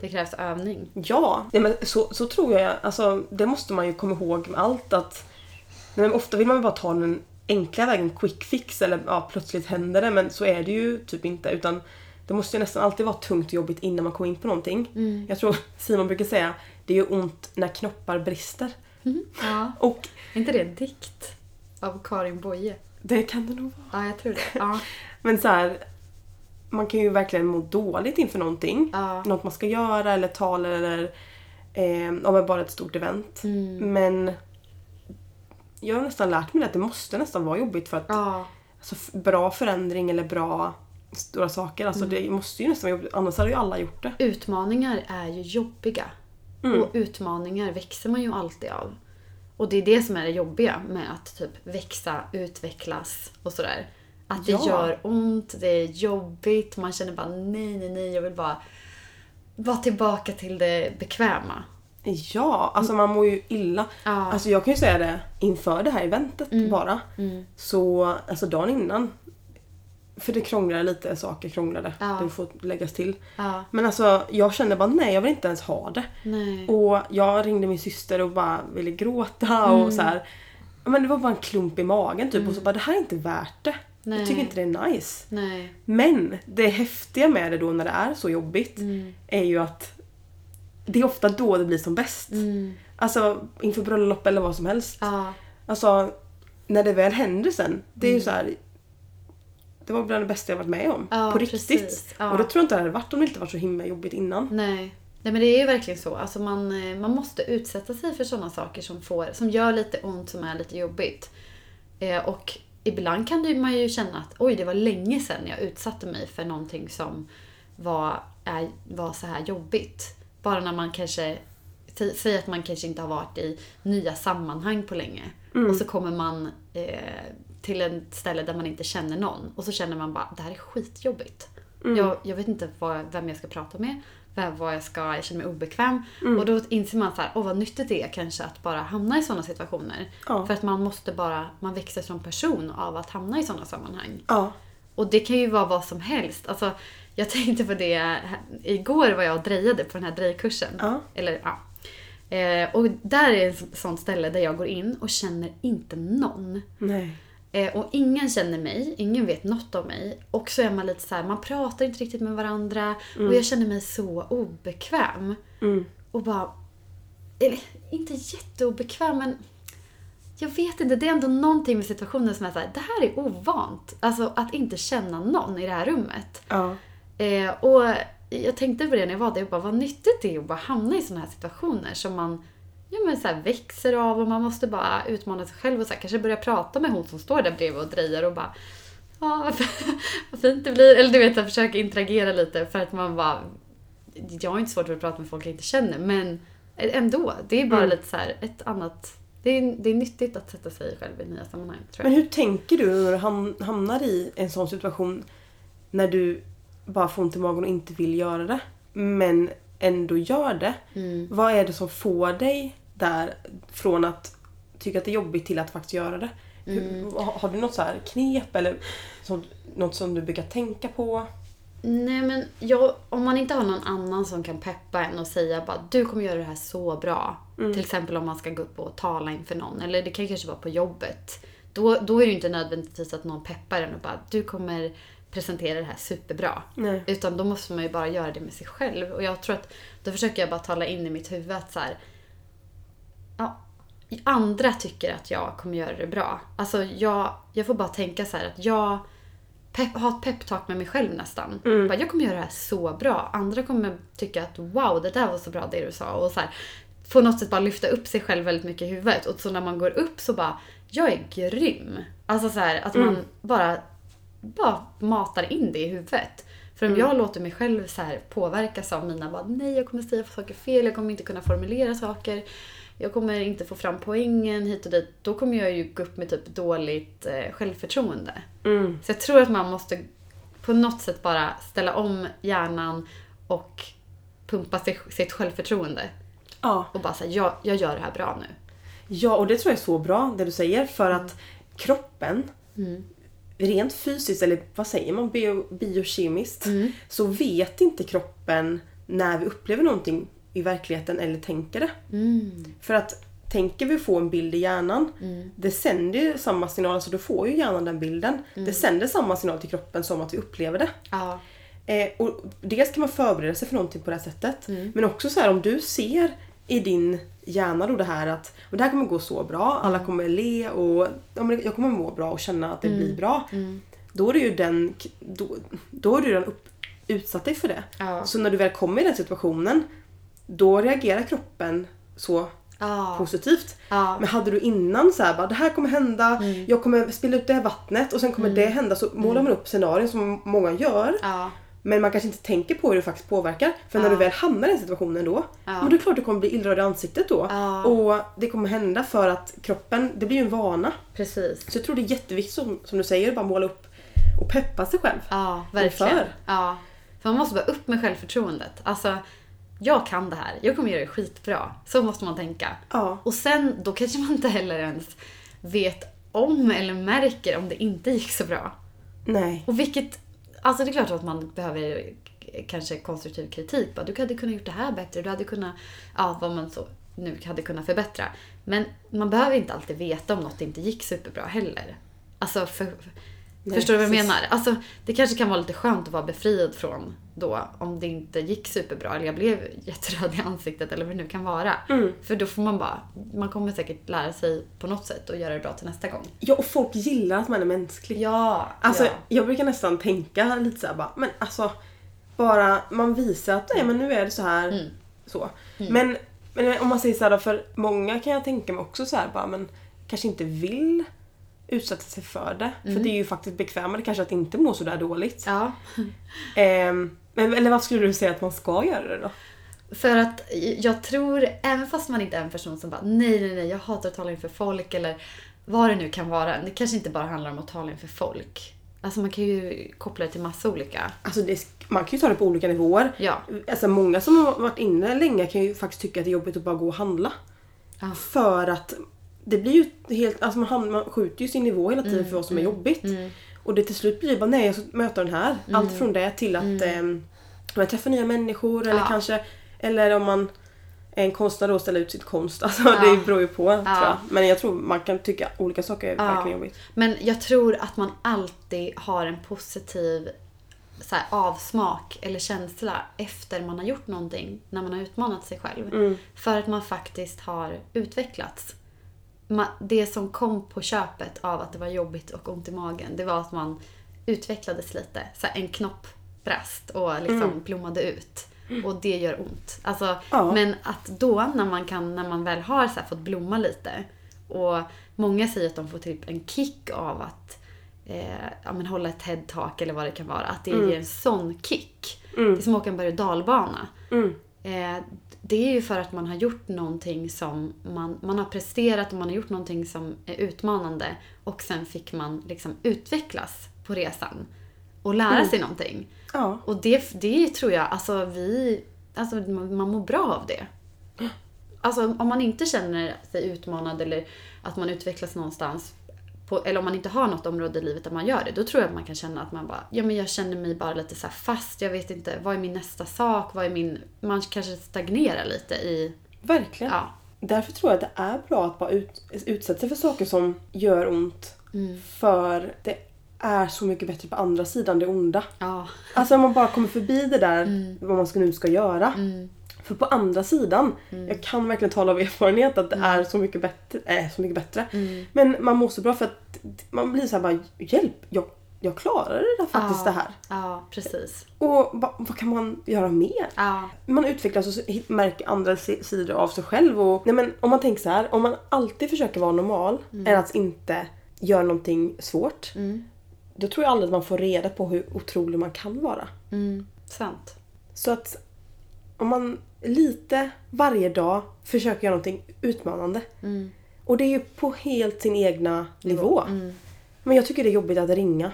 Speaker 2: Det krävs övning.
Speaker 1: Ja, nej, men så, så tror jag. Alltså, det måste man ju komma ihåg med allt. Att, nej, men ofta vill man ju bara ta den enkla vägen, quick fix, eller ja, plötsligt händer det. Men så är det ju typ inte. Utan det måste ju nästan alltid vara tungt och jobbigt innan man kommer in på någonting. Jag tror Simon brukar säga, det gör ont när knoppar brister.
Speaker 2: Ja.
Speaker 1: Och
Speaker 2: Är inte det en dikt? Av Karin Boye?
Speaker 1: det kan det nog vara.
Speaker 2: Ja, jag tror det. Ja.
Speaker 1: Men så här, man kan ju verkligen må dåligt inför någonting.
Speaker 2: Ja.
Speaker 1: Något man ska göra eller tal eller Eh, om bara ett stort event.
Speaker 2: Mm.
Speaker 1: Men jag har nästan lärt mig det att det måste nästan vara jobbigt för att
Speaker 2: Ja.
Speaker 1: alltså, f- bra förändring eller bra stora saker, alltså
Speaker 2: Mm.
Speaker 1: det måste ju nästan vara jobbigt. Annars hade ju alla gjort det.
Speaker 2: Utmaningar är ju jobbiga.
Speaker 1: Mm.
Speaker 2: Och utmaningar växer man ju alltid av. Och det är det som är det jobbiga med att typ växa, utvecklas och sådär. Att det
Speaker 1: Ja.
Speaker 2: gör ont, det är jobbigt, man känner bara nej, nej, nej, jag vill bara vara tillbaka till det bekväma.
Speaker 1: Ja, alltså man mår ju illa.
Speaker 2: Mm. Ja. Mm.
Speaker 1: Alltså jag kan ju säga det inför det här eventet bara. Så alltså dagen innan. För det krånglade lite, saker krånglade.
Speaker 2: Ja.
Speaker 1: Det får läggas till.
Speaker 2: Ja.
Speaker 1: Men alltså jag kände bara nej jag vill inte ens ha det.
Speaker 2: Nej.
Speaker 1: Och jag ringde min syster och bara ville gråta
Speaker 2: Mm.
Speaker 1: och så här. Men det var bara en klump i magen typ och så bara det här är inte värt det.
Speaker 2: Nej.
Speaker 1: Jag tycker inte det är nice.
Speaker 2: Nej.
Speaker 1: Men det häftiga med det då när det är så jobbigt
Speaker 2: Mm.
Speaker 1: är ju att det är ofta då det blir som bäst.
Speaker 2: Mm.
Speaker 1: Alltså inför bröllop eller vad som helst.
Speaker 2: Ja.
Speaker 1: Alltså när det väl händer sen, det är
Speaker 2: Mm.
Speaker 1: ju så här. Det var bland det bästa jag varit med om.
Speaker 2: Ja,
Speaker 1: på riktigt.
Speaker 2: precis. Ja.
Speaker 1: Och det tror jag inte det hade varit om det inte varit så himla jobbigt innan.
Speaker 2: Nej. Nej men det är ju verkligen så. Alltså man, eh, man måste utsätta sig för sådana saker som, får, som gör lite ont, som är lite jobbigt. Eh, och ibland kan det ju- man ju känna att oj, det var länge sedan jag utsatte mig för någonting som var, är, var så här jobbigt. Bara när man kanske, sä- säg att man kanske inte har varit i nya sammanhang på länge. Och så kommer man eh, till ett ställe där man inte känner någon. Och så känner man bara, det här är skitjobbigt. Jag, jag vet inte vad, vem jag ska prata med. Vem, vad jag, ska, jag känner mig obekväm. Och då inser man så här, åh vad nyttigt det är kanske att bara hamna i sådana situationer.
Speaker 1: Ja.
Speaker 2: För att man måste bara, man växer som person av att hamna i sådana sammanhang.
Speaker 1: Ja.
Speaker 2: Och det kan ju vara vad som helst. Alltså, jag tänkte på det, här- igår var jag och drejade på den här drejkursen.
Speaker 1: Ja.
Speaker 2: Eller, ja. Eh, och där är ett sånt ställe där jag går in och känner inte någon.
Speaker 1: Nej.
Speaker 2: Eh, och ingen känner mig, ingen vet något om mig. Och så är man lite så här, man pratar inte riktigt med varandra. Och jag känner mig så obekväm.
Speaker 1: Mm,
Speaker 2: Och bara... Eller, inte jätteobekväm men... Jag vet inte, det är ändå någonting med situationen som är så här, det här är ovant. Alltså att inte känna någon i det här rummet.
Speaker 1: Ja.
Speaker 2: Eh, och jag tänkte på det när jag var där, jag bara, vad nyttigt det är att bara hamna i sådana här situationer som man ja, men så här växer av och man måste bara utmana sig själv och så här, kanske börja prata med hon som står där bredvid och drejar och bara Ja, vad fint det blir. Eller du vet, att försöka interagera lite för att man bara... Jag har inte svårt för att prata med folk jag inte känner, men ändå. Det är bara lite så här ett annat... Det är, det är nyttigt att sätta sig själv i nya sammanhang, tror
Speaker 1: Men
Speaker 2: jag.
Speaker 1: hur tänker du när du ham- hamnar i en sån situation när du bara får ont i magen och inte vill göra det men ändå gör det?
Speaker 2: Mm.
Speaker 1: Vad är det som får dig där från att tycka att det är jobbigt till att faktiskt göra det? Hur, har, har du något så här knep eller som, något som du brukar tänka på?
Speaker 2: Nej, men jag, om man inte har någon annan som kan peppa en och säga bara du kommer göra det här så bra.
Speaker 1: Mm,
Speaker 2: Till exempel om man ska gå upp och tala inför någon. Eller det kan kanske vara på jobbet. Då, då är det ju inte nödvändigtvis att någon peppar en och bara du kommer presentera det här superbra.
Speaker 1: Nej.
Speaker 2: Utan då måste man ju bara göra det med sig själv. Och jag tror att då försöker jag bara tala in i mitt huvud att så här, ja, andra tycker att jag kommer göra det bra. Alltså jag, jag får bara tänka så här att jag pep, har ett peptalk med mig själv nästan.
Speaker 1: Mm.
Speaker 2: Bara, jag kommer göra det här så bra. Andra kommer tycka att wow, det där var så bra det du sa. Och så här, på något sätt bara lyfta upp sig själv väldigt mycket i huvudet. Och så när man går upp så bara, jag är grym. Alltså så här, att man bara, bara matar in det i huvudet. För om jag låter mig själv så här påverkas av mina bara, nej jag kommer säga saker fel, jag kommer inte kunna formulera saker, jag kommer inte få fram poängen hit och dit. Då kommer jag ju gå upp med typ dåligt eh, självförtroende.
Speaker 1: mm.
Speaker 2: Så jag tror att man måste på något sätt bara ställa om hjärnan och pumpa sig, sitt självförtroende.
Speaker 1: Ja.
Speaker 2: Och bara säga, jag, jag gör det här bra nu.
Speaker 1: Ja, och det tror jag är så bra det du säger för att kroppen rent fysiskt, eller vad säger man, bio, biokemiskt
Speaker 2: Mm.
Speaker 1: så vet inte kroppen när vi upplever någonting i verkligheten eller tänker det. För att tänker vi få en bild i hjärnan, det sänder ju samma signal, alltså då får ju hjärnan den bilden. Det sänder samma signal till kroppen som att vi upplever det.
Speaker 2: Ja.
Speaker 1: Eh, och dels kan man förbereda sig för någonting på det här sättet. Men också så här om du ser i din hjärna då det här att och det här kommer gå så bra, alla kommer le och ja, men jag kommer må bra och känna att det blir bra.
Speaker 2: Mm.
Speaker 1: Då är du ju den, då, då är du redan upp, utsatt dig för det.
Speaker 2: Ja.
Speaker 1: Så när du väl kommer i den situationen då reagerar kroppen så
Speaker 2: Ja.
Speaker 1: positivt.
Speaker 2: Ja. Mm.
Speaker 1: Men hade du innan så här, bara, det här kommer hända, jag kommer spilla ut det här vattnet och sen kommer det hända. Så målar man upp scenarier som många gör.
Speaker 2: Ja.
Speaker 1: Men man kanske inte tänker på hur det faktiskt påverkar. För när
Speaker 2: Ja.
Speaker 1: du väl hamnar i den situationen då,
Speaker 2: Ja.
Speaker 1: men det är klart du kommer bli illröd i ansiktet då.
Speaker 2: Ja.
Speaker 1: Och det kommer hända för att kroppen, det blir ju en vana.
Speaker 2: Precis.
Speaker 1: Så jag tror det är jätteviktigt som, som du säger, att bara måla upp och peppa sig själv.
Speaker 2: Ja, verkligen.
Speaker 1: Inför.
Speaker 2: Ja. För man måste bara upp med självförtroendet. Alltså, jag kan det här. Jag kommer göra det skitbra. Så måste man tänka.
Speaker 1: Ja.
Speaker 2: Och sen, då kanske man inte heller ens vet om eller märker om det inte gick så bra.
Speaker 1: Nej.
Speaker 2: Och vilket... Alltså det är klart att man behöver k- kanske konstruktiv kritik. Bara, du hade kunnat gjort det här bättre. Du hade kunnat... Ja, vad man så nu hade kunnat förbättra. Men man behöver inte alltid veta om något inte gick superbra heller. Alltså, för,
Speaker 1: Nej,
Speaker 2: förstår du vad jag
Speaker 1: precis.
Speaker 2: menar? Alltså, det kanske kan vara lite skönt att vara befriad från då om det inte gick superbra eller jag blev jätteröd i ansiktet eller vad det nu kan vara. För då får man bara, man kommer säkert lära sig på något sätt och göra det bra till nästa gång.
Speaker 1: Ja, och folk gillar att man är mänsklig.
Speaker 2: Ja!
Speaker 1: Alltså
Speaker 2: ja.
Speaker 1: jag brukar nästan tänka lite såhär bara, men alltså bara man visar att nej men nu är det så här. Så. Men, men om man säger såhär då, för många kan jag tänka mig också såhär bara men kanske inte vill utsätta sig för det. För det är ju faktiskt bekvämare kanske att inte må sådär dåligt.
Speaker 2: Ja.
Speaker 1: Ehm, men, eller vad skulle du säga att man ska göra det då?
Speaker 2: För att jag tror, även fast man inte är en person som bara nej, nej, nej, jag hatar att tala inför folk eller vad det nu kan vara. Det kanske inte bara handlar om att tala inför folk. Alltså man kan ju koppla det till massa olika.
Speaker 1: Alltså det, är- man kan ju ta det på olika nivåer.
Speaker 2: Ja.
Speaker 1: Alltså många som har varit inne länge kan ju faktiskt tycka att det är jobbigt att bara gå och handla.
Speaker 2: Ja.
Speaker 1: För att det blir ju helt, alltså man, ham- man skjuter ju sin nivå hela
Speaker 2: Mm,
Speaker 1: tiden för vad som är jobbigt. Och det till slut blir ju bara nej jag ska möta den här. Allt från det till att mm. man träffar nya människor eller
Speaker 2: Ja.
Speaker 1: kanske Eller om man är en konstnär och ställer ut sitt konst. Alltså det beror ju på tror jag. Men jag tror man kan tycka olika saker är verkligen jobbigt.
Speaker 2: Men jag tror att man alltid har en positiv så här, avsmak eller känsla efter man har gjort någonting, när man har utmanat sig själv.
Speaker 1: Mm,
Speaker 2: För att man faktiskt har utvecklats. Ma- Det som kom på köpet av att det var jobbigt och ont i magen, det var att man utvecklades lite. Så här, en knopp brast och liksom blommade ut. Och det gör ont. Alltså,
Speaker 1: Ja.
Speaker 2: Men att då, när man, kan, när man väl har så här, fått blomma lite och många säger att de får typ en kick av att eh, ja, men hålla ett TED-talk eller vad det kan vara. Att det ger en sån kick. Det är som att åka en berg och dalbana.
Speaker 1: mm.
Speaker 2: Eh, det är ju för att man har gjort någonting som man, man har presterat och man har gjort någonting som är utmanande och sen fick man liksom utvecklas på resan och lära sig någonting.
Speaker 1: Ja.
Speaker 2: Och det, det tror jag, alltså vi, alltså man man mår bra av det. Alltså om man inte känner sig utmanad eller att man utvecklas någonstans, på, eller om man inte har något område i livet där man gör det, då tror jag att man kan känna att man bara, ja men jag känner mig bara lite så här fast, jag vet inte, vad är min nästa sak, vad är min, man kanske stagnerar lite i,
Speaker 1: Verkligen.
Speaker 2: ja.
Speaker 1: Därför tror jag att det är bra att bara ut, utsätta sig för saker som gör ont.
Speaker 2: Mm.
Speaker 1: För det är så mycket bättre på andra sidan det onda.
Speaker 2: Ja,
Speaker 1: Alltså om man bara kommer förbi det där vad man ska, nu ska göra.
Speaker 2: Mm.
Speaker 1: För på andra sidan, jag kan verkligen tala av erfarenhet att det är så mycket bättre. Äh, så mycket bättre. Men man mår så bra för att man blir så här bara hjälp, jag, jag klarar det där faktiskt det
Speaker 2: Ja.
Speaker 1: här.
Speaker 2: ja precis.
Speaker 1: Och ba, vad kan man göra mer?
Speaker 2: Ja,
Speaker 1: Man utvecklas och så hit- märker andra si- sidor av sig själv. Och, nej men, om man tänker så här, om man alltid försöker vara normal eller att inte göra någonting svårt. Då tror jag aldrig att man får reda på hur otrolig man kan vara.
Speaker 2: mm, sant.
Speaker 1: Så att om man lite varje dag försöker göra någonting utmanande. Och det är ju på helt sin egna nivå.
Speaker 2: Mm.
Speaker 1: Men jag tycker det är jobbigt att ringa.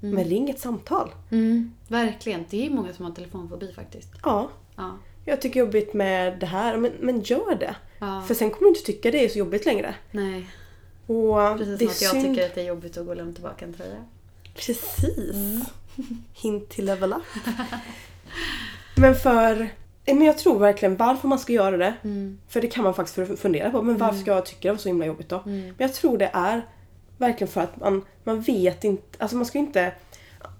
Speaker 1: Men ring ett samtal.
Speaker 2: Mm, verkligen. Det är många som har telefonfobi faktiskt.
Speaker 1: Ja.
Speaker 2: Ja.
Speaker 1: Jag tycker det är jobbigt med det här, men, men gör det.
Speaker 2: Ja.
Speaker 1: För sen kommer du inte tycka det är så jobbigt längre.
Speaker 2: Nej,
Speaker 1: Och
Speaker 2: precis
Speaker 1: det är
Speaker 2: som att jag
Speaker 1: synd.
Speaker 2: tycker att det är jobbigt att gå och lämna tillbaka en tröja.
Speaker 1: Precis.
Speaker 2: Mm.
Speaker 1: Hint till level up. men för... eh, Men jag tror verkligen varför man ska göra det.
Speaker 2: Mm.
Speaker 1: För det kan man faktiskt fu- fundera på. Men varför ska jag tycka det var så himla jobbigt då?
Speaker 2: Mm.
Speaker 1: Men jag tror det är verkligen för att man, man vet inte... Alltså man ska ju inte...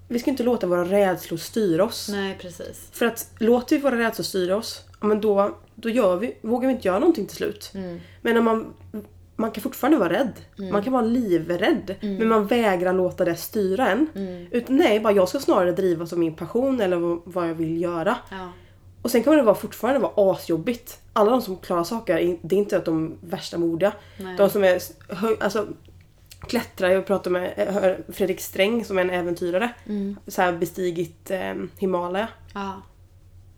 Speaker 1: Vi ska inte låta våra rädslor styra oss.
Speaker 2: Nej, precis.
Speaker 1: För att låter vi våra rädslor styra oss, ja, men då, då gör vi, vågar vi inte göra någonting till slut. Men om man, man kan fortfarande vara rädd. Man kan vara livrädd. Men man vägrar låta det styra en. Utan nej, bara jag ska snarare drivas av min passion eller vad- vad jag vill göra.
Speaker 2: Ja.
Speaker 1: Och sen kommer det vara, fortfarande vara asjobbigt. Alla de som klarar saker, är- det är inte att de värsta modiga.
Speaker 2: Nej.
Speaker 1: De som är s- hö, alltså, klättrar, jag pratade med eh, hör- Fredrik Sträng som är en äventyrare. Så här bestigit eh, Himalaya.
Speaker 2: Mm. Ja.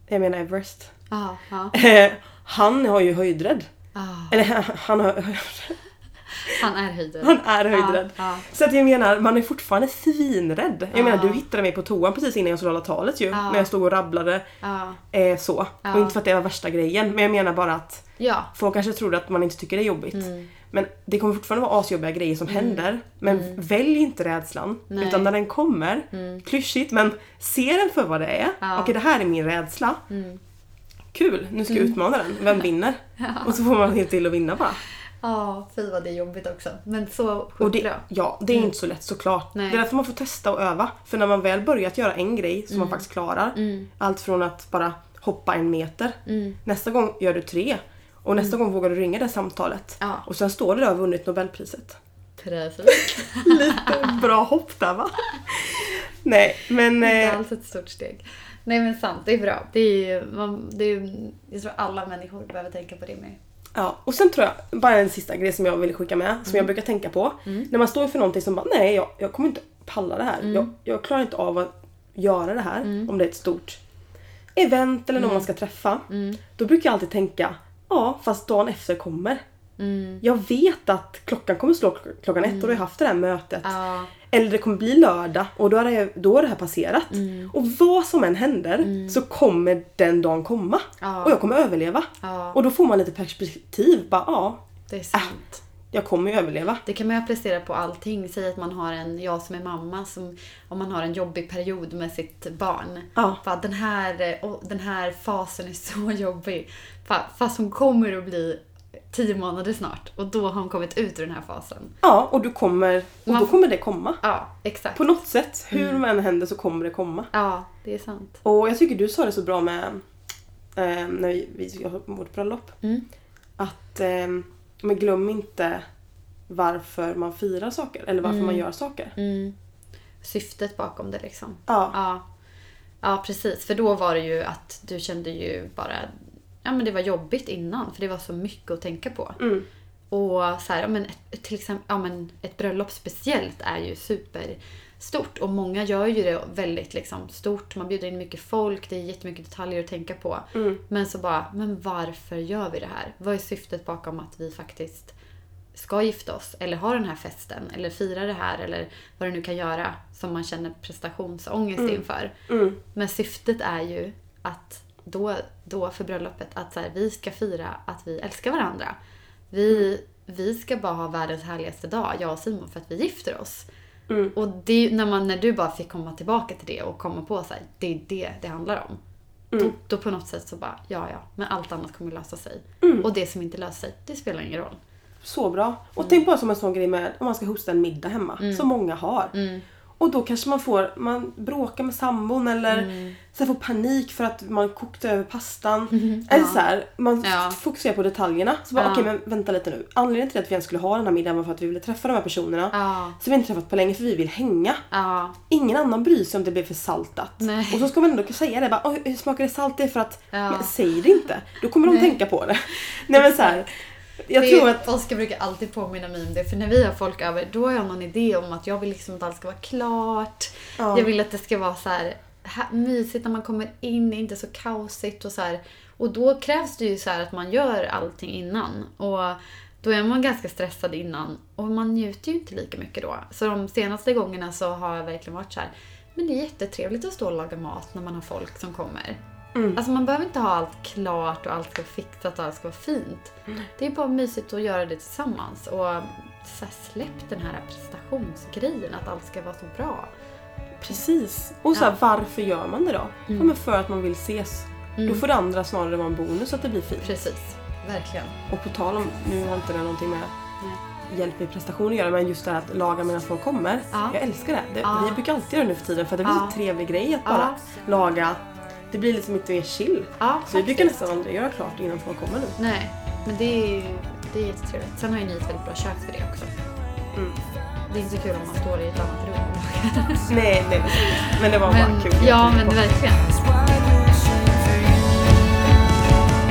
Speaker 1: Jag menar Everest.
Speaker 2: Ja. Ja.
Speaker 1: Eh, han har ju höjdrädd.
Speaker 2: Ja.
Speaker 1: Eller han, har,
Speaker 2: Han är höjdrädd.
Speaker 1: han är höjdrädd.
Speaker 2: Ja,
Speaker 1: Så att jag menar, man är fortfarande svinrädd. Jag
Speaker 2: Ja.
Speaker 1: menar, du hittade mig på toan precis innan jag skulle hålla talet ju.
Speaker 2: Ja.
Speaker 1: När jag stod och rabblade
Speaker 2: ja.
Speaker 1: eh, så.
Speaker 2: Ja.
Speaker 1: Och inte för att det var värsta grejen, men jag menar bara att
Speaker 2: Ja.
Speaker 1: Folk kanske tror att man inte tycker det är jobbigt.
Speaker 2: Mm.
Speaker 1: Men det kommer fortfarande vara asjobbiga grejer som händer. Men välj inte rädslan.
Speaker 2: Mm. Nej.
Speaker 1: Utan när den kommer,
Speaker 2: mm.
Speaker 1: klyschigt men se den för vad det är.
Speaker 2: Ja. Mm.
Speaker 1: Okej det här är min rädsla. Kul, nu ska jag utmana den. Vem vinner? Och så får man helt till att vinna bara.
Speaker 2: Ja, fy vad det är jobbigt också. Men så
Speaker 1: Och
Speaker 2: sjukt
Speaker 1: det,
Speaker 2: bra.
Speaker 1: ja, det är inte så lätt såklart.
Speaker 2: Mm. Nej.
Speaker 1: Det är därför man får testa och öva. För när man väl börjat göra en grej som
Speaker 2: Mm.
Speaker 1: man faktiskt klarar. Allt från att bara hoppa en meter.
Speaker 2: Mm.
Speaker 1: Nästa gång gör du tre. Och nästa gång vågar du ringa det samtalet.
Speaker 2: Ja.
Speaker 1: Och sen står det där och har vunnit nobelpriset. Eh.
Speaker 2: Precis.
Speaker 1: Lite bra hopp där va? Nej men...
Speaker 2: Inte
Speaker 1: Eh,
Speaker 2: alls ett stort steg. Nej men sant, det är bra. Det är, ju- man, det är, ju- jag tror alla människor behöver tänka på det mer.
Speaker 1: ja. Och sen tror jag, bara en sista grej som jag vill skicka med. Som jag brukar tänka på. När man står inför någonting som bara nej jag, jag kommer inte palla det här. Jag, jag klarar inte av att göra det här. Om det är ett stort event eller någon man ska träffa. Då brukar jag alltid tänka ja fast dagen efter kommer. Jag vet att klockan kommer slå kl- klockan ett och då har jag haft det här mötet.
Speaker 2: Ja.
Speaker 1: Eller det kommer bli lördag och då har det, då har det här passerat.
Speaker 2: Mm.
Speaker 1: Och vad som än händer så kommer den dagen komma.
Speaker 2: Ja.
Speaker 1: Och jag kommer överleva.
Speaker 2: Ja.
Speaker 1: Och då får man lite perspektiv. Bara, ja,
Speaker 2: Det är sant.
Speaker 1: jag kommer ju överleva.
Speaker 2: Det kan man ju applicera på allting. Säg att man har en, jag som är mamma, som, om man har en jobbig period med sitt barn.
Speaker 1: Ja.
Speaker 2: Bara, den, här, eh, åh, den här fasen är så jobbig. Fa- Fast hon kommer att bli tio månader snart och då har hon kommit ut ur den här fasen.
Speaker 1: Ja, och, du kommer, och
Speaker 2: Man- Mm.
Speaker 1: då kommer det komma.
Speaker 2: Ja, exakt.
Speaker 1: På något sätt, hur det än händer så kommer det komma.
Speaker 2: Ja, det är sant.
Speaker 1: Och jag tycker du sa det så bra med eh, när vi, vi skulle ha vårt bröllop.
Speaker 2: Mm.
Speaker 1: Att eh, men glöm inte varför man firar saker eller varför
Speaker 2: Mm.
Speaker 1: man gör saker.
Speaker 2: Syftet bakom det liksom.
Speaker 1: Ja.
Speaker 2: Ja. ja, precis. För då var det ju att du kände ju bara... Ja, men det var jobbigt innan för det var så mycket att tänka på.
Speaker 1: Mm,
Speaker 2: Och så här, ja, men ett, till exempel, ja, men ett bröllop speciellt är ju superstort och många gör ju det väldigt liksom, stort. Man bjuder in mycket folk, det är jättemycket detaljer att tänka på.
Speaker 1: mm.
Speaker 2: Men så bara, men varför gör vi det här? Vad är syftet bakom att vi faktiskt ska gifta oss eller ha den här festen eller fira det här eller vad det nu kan göra som man känner prestationsångest inför.
Speaker 1: Mm.
Speaker 2: Men syftet är ju att då, då för bröllopet att så här, vi ska fira att vi älskar varandra. Vi, vi ska bara ha världens härligaste dag, jag och Simon, för att vi gifter oss. Och det, är ju- när, man, när du bara fick komma tillbaka till det och komma på så här, det är det det handlar om. Då, då på något sätt så bara, ja ja, men allt annat kommer lösa sig. Och det som inte löser sig, det spelar ingen roll.
Speaker 1: Så bra. Och
Speaker 2: Mm.
Speaker 1: tänk bara som en sån grej med om man ska hosta en middag hemma, som många har.
Speaker 2: Mm.
Speaker 1: Och då kanske man får, man bråkar med sambon eller
Speaker 2: Mm.
Speaker 1: så här får panik för att man kokte över pastan. Eller så här, man
Speaker 2: Ja.
Speaker 1: fokuserar på detaljerna. Så bara
Speaker 2: Ja.
Speaker 1: okej men vänta lite nu. Anledningen till att vi ens skulle ha den här middagen var för att vi ville träffa de här personerna.
Speaker 2: Ja.
Speaker 1: Som vi inte träffat på länge för vi vill hänga.
Speaker 2: Ja,
Speaker 1: Ingen annan bryr sig om det blir för saltat.
Speaker 2: Nej.
Speaker 1: Och så ska man ändå säga det. Bara, "Åh, hur smakar det salt? Det är för att...
Speaker 2: Ja.
Speaker 1: Men säg det inte. Då kommer de tänka på det. Nej men så här, Jag
Speaker 2: det,
Speaker 1: tror att...
Speaker 2: Oskar brukar alltid påminna mig om det för när vi har folk över då har jag någon idé om att jag vill liksom att allt ska vara klart.
Speaker 1: Ja.
Speaker 2: Jag vill att det ska vara så här, här mysigt när man kommer in, inte så kaosigt och så här. Och då krävs det ju så här att man gör allting innan och då är man ganska stressad innan och man njuter ju inte lika mycket då. Så de senaste gångerna så har jag verkligen varit så här men det är jättetrevligt att stå och laga mat när man har folk som kommer. Alltså man behöver inte ha allt klart och allt ska vara fixat och allt ska vara fint. Det är bara mysigt att göra det tillsammans och så här, släpp den här prestationsgrejen att allt ska vara så bra.
Speaker 1: Precis. Och så här, varför gör man det
Speaker 2: Mm.
Speaker 1: då? Ja, men för att man vill ses. Då får det andra snarare vara en bonus att det blir fint.
Speaker 2: Precis, verkligen.
Speaker 1: Och på tal om, nu har inte det någonting med hjälp i prestation att göra men just det här att laga medan folk kommer.
Speaker 2: Ja.
Speaker 1: Jag älskar det. det
Speaker 2: Ja.
Speaker 1: Vi brukar alltid göra det nu för tiden för det blir
Speaker 2: Ja.
Speaker 1: så trevlig grej att bara laga. Det blir lite mycket mer chill.
Speaker 2: Ja,
Speaker 1: så vi brukar
Speaker 2: faktiskt.
Speaker 1: nästan aldrig göra klart innan folk kommer nu.
Speaker 2: Nej, men det är ju det är jättetrevligt. Sen har ju ni ett väldigt bra kök för det också.
Speaker 1: Mm.
Speaker 2: Det är inte så kul om man står i ett annat rum.
Speaker 1: Nej, nej. Men det var bara
Speaker 2: Men,
Speaker 1: kul.
Speaker 2: ja, men verkligen.
Speaker 3: It's wide ocean for you.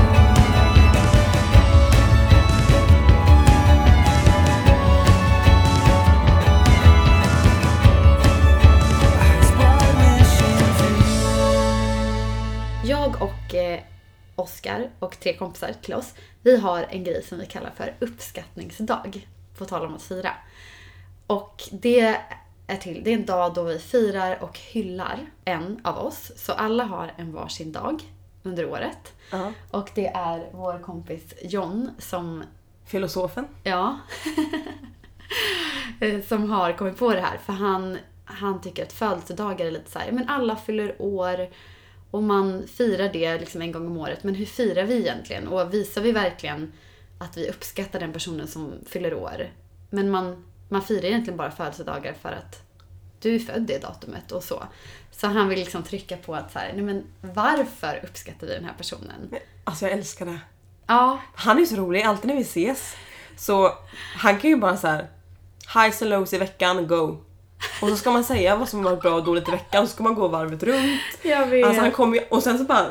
Speaker 2: Oskar eh, och tre kompisar till oss, vi har en grej som vi kallar för uppskattningsdag. På tal om att fira. Och det är till, det är en dag då vi firar och hyllar en av oss. Så alla har en varsin dag under året.
Speaker 1: Ja.
Speaker 2: Och det är vår kompis John som
Speaker 1: Filosofen.
Speaker 2: Ja. Eh, som har kommit på det här. För han, han tycker att födelsedagar är lite så här, men alla fyller år och man firar det liksom en gång om året. Men hur firar vi egentligen? Och visar vi verkligen att vi uppskattar den personen som fyller år? Men man, man firar egentligen bara födelsedagar för att du är född det datumet och så. Så han vill liksom trycka på att så här, nej men varför uppskattar vi den här personen?
Speaker 1: Alltså jag älskar det.
Speaker 2: Ja,
Speaker 1: Han är ju så rolig, alltid när vi ses. Så han kan ju bara så här. Highs and lows i veckan, go. Och så ska man säga vad som har varit bra och dåligt i veckan och så ska man gå varvet runt.
Speaker 2: jag vet.
Speaker 1: Alltså han kommer ju, och sen så bara...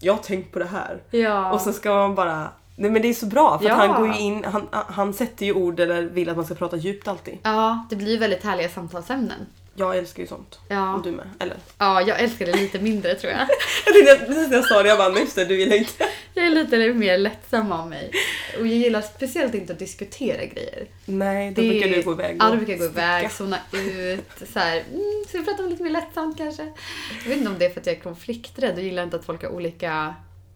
Speaker 1: Jag har tänkt på det här.
Speaker 2: ja.
Speaker 1: Och sen ska man bara... Nej men det är så bra för
Speaker 2: Ja.
Speaker 1: att han går ju in, han, han sätter ju ord eller vill att man ska prata djupt alltid.
Speaker 2: Ja, det blir ju väldigt härliga samtalsämnen.
Speaker 1: Jag älskar ju sånt.
Speaker 2: Ja.
Speaker 1: Och du med, eller?
Speaker 2: Ja, jag älskar det lite mindre tror jag.
Speaker 1: Jag tänkte precis när jag sa det, jag bara nej just det, du gillar inte.
Speaker 2: Jag är lite mer lättsam av mig. Och jag gillar speciellt inte att diskutera grejer.
Speaker 1: Nej, då brukar du gå iväg
Speaker 2: Ja,
Speaker 1: och
Speaker 2: då brukar jag gå iväg,
Speaker 1: sticka.
Speaker 2: zona ut. Så här, mm, ska vi prata om lite mer lättsamt kanske? Jag vet inte om det är för att jag är konflikträdd och gillar inte att folk har olika,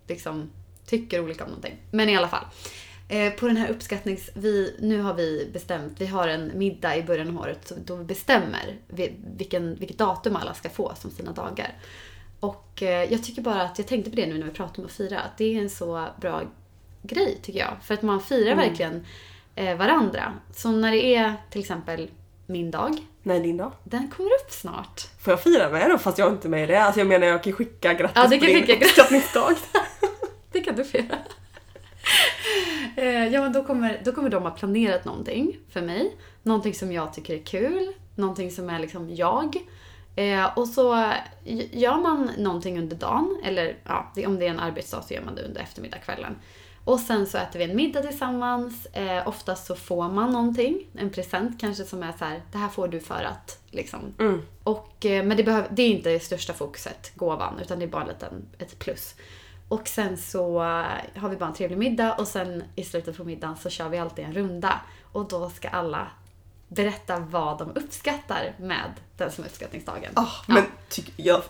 Speaker 2: liksom, tycker olika om någonting. Men i alla fall. Eh, på den här uppskattnings... Vi, nu har vi bestämt, vi har en middag i början av året så- då vi bestämmer vi- vilken, vilket datum alla ska få som sina dagar. Och eh, jag tycker bara att, jag tänkte på det nu när vi pratade om att fira, att det är en så bra grej tycker jag. För att man firar verkligen eh, varandra. Så när det är till exempel min dag,
Speaker 1: Nej, din då?
Speaker 2: den kommer upp snart.
Speaker 1: Får jag fira med då fast jag är inte med i det? Alltså jag menar jag kan ju skicka grattis
Speaker 2: Ja, du kan
Speaker 1: på din
Speaker 2: skicka grattis.
Speaker 1: uppskattningsdag.
Speaker 2: Det kan du få göra. Eh, Ja, men då kommer, då kommer de ha planerat någonting för mig. Någonting som jag tycker är kul. Någonting som är liksom jag. Eh, och så g- gör man någonting under dagen, eller ja, det- om det är en arbetsdag så gör man det under eftermiddagskvällen. Och sen så äter vi en middag tillsammans. Eh, oftast så får man någonting, en present kanske som är så här, det här får du för att liksom.
Speaker 1: Mm.
Speaker 2: Och, eh, men det, behöver, det är inte det största fokuset, gåvan, utan det är bara en liten, ett plus. Och sen så eh, har vi bara en trevlig middag och sen i slutet på middagen så kör vi alltid en runda. Och då ska alla berätta vad de uppskattar med den som är uppskattningsdagen.
Speaker 1: Ah, men tyck, jag,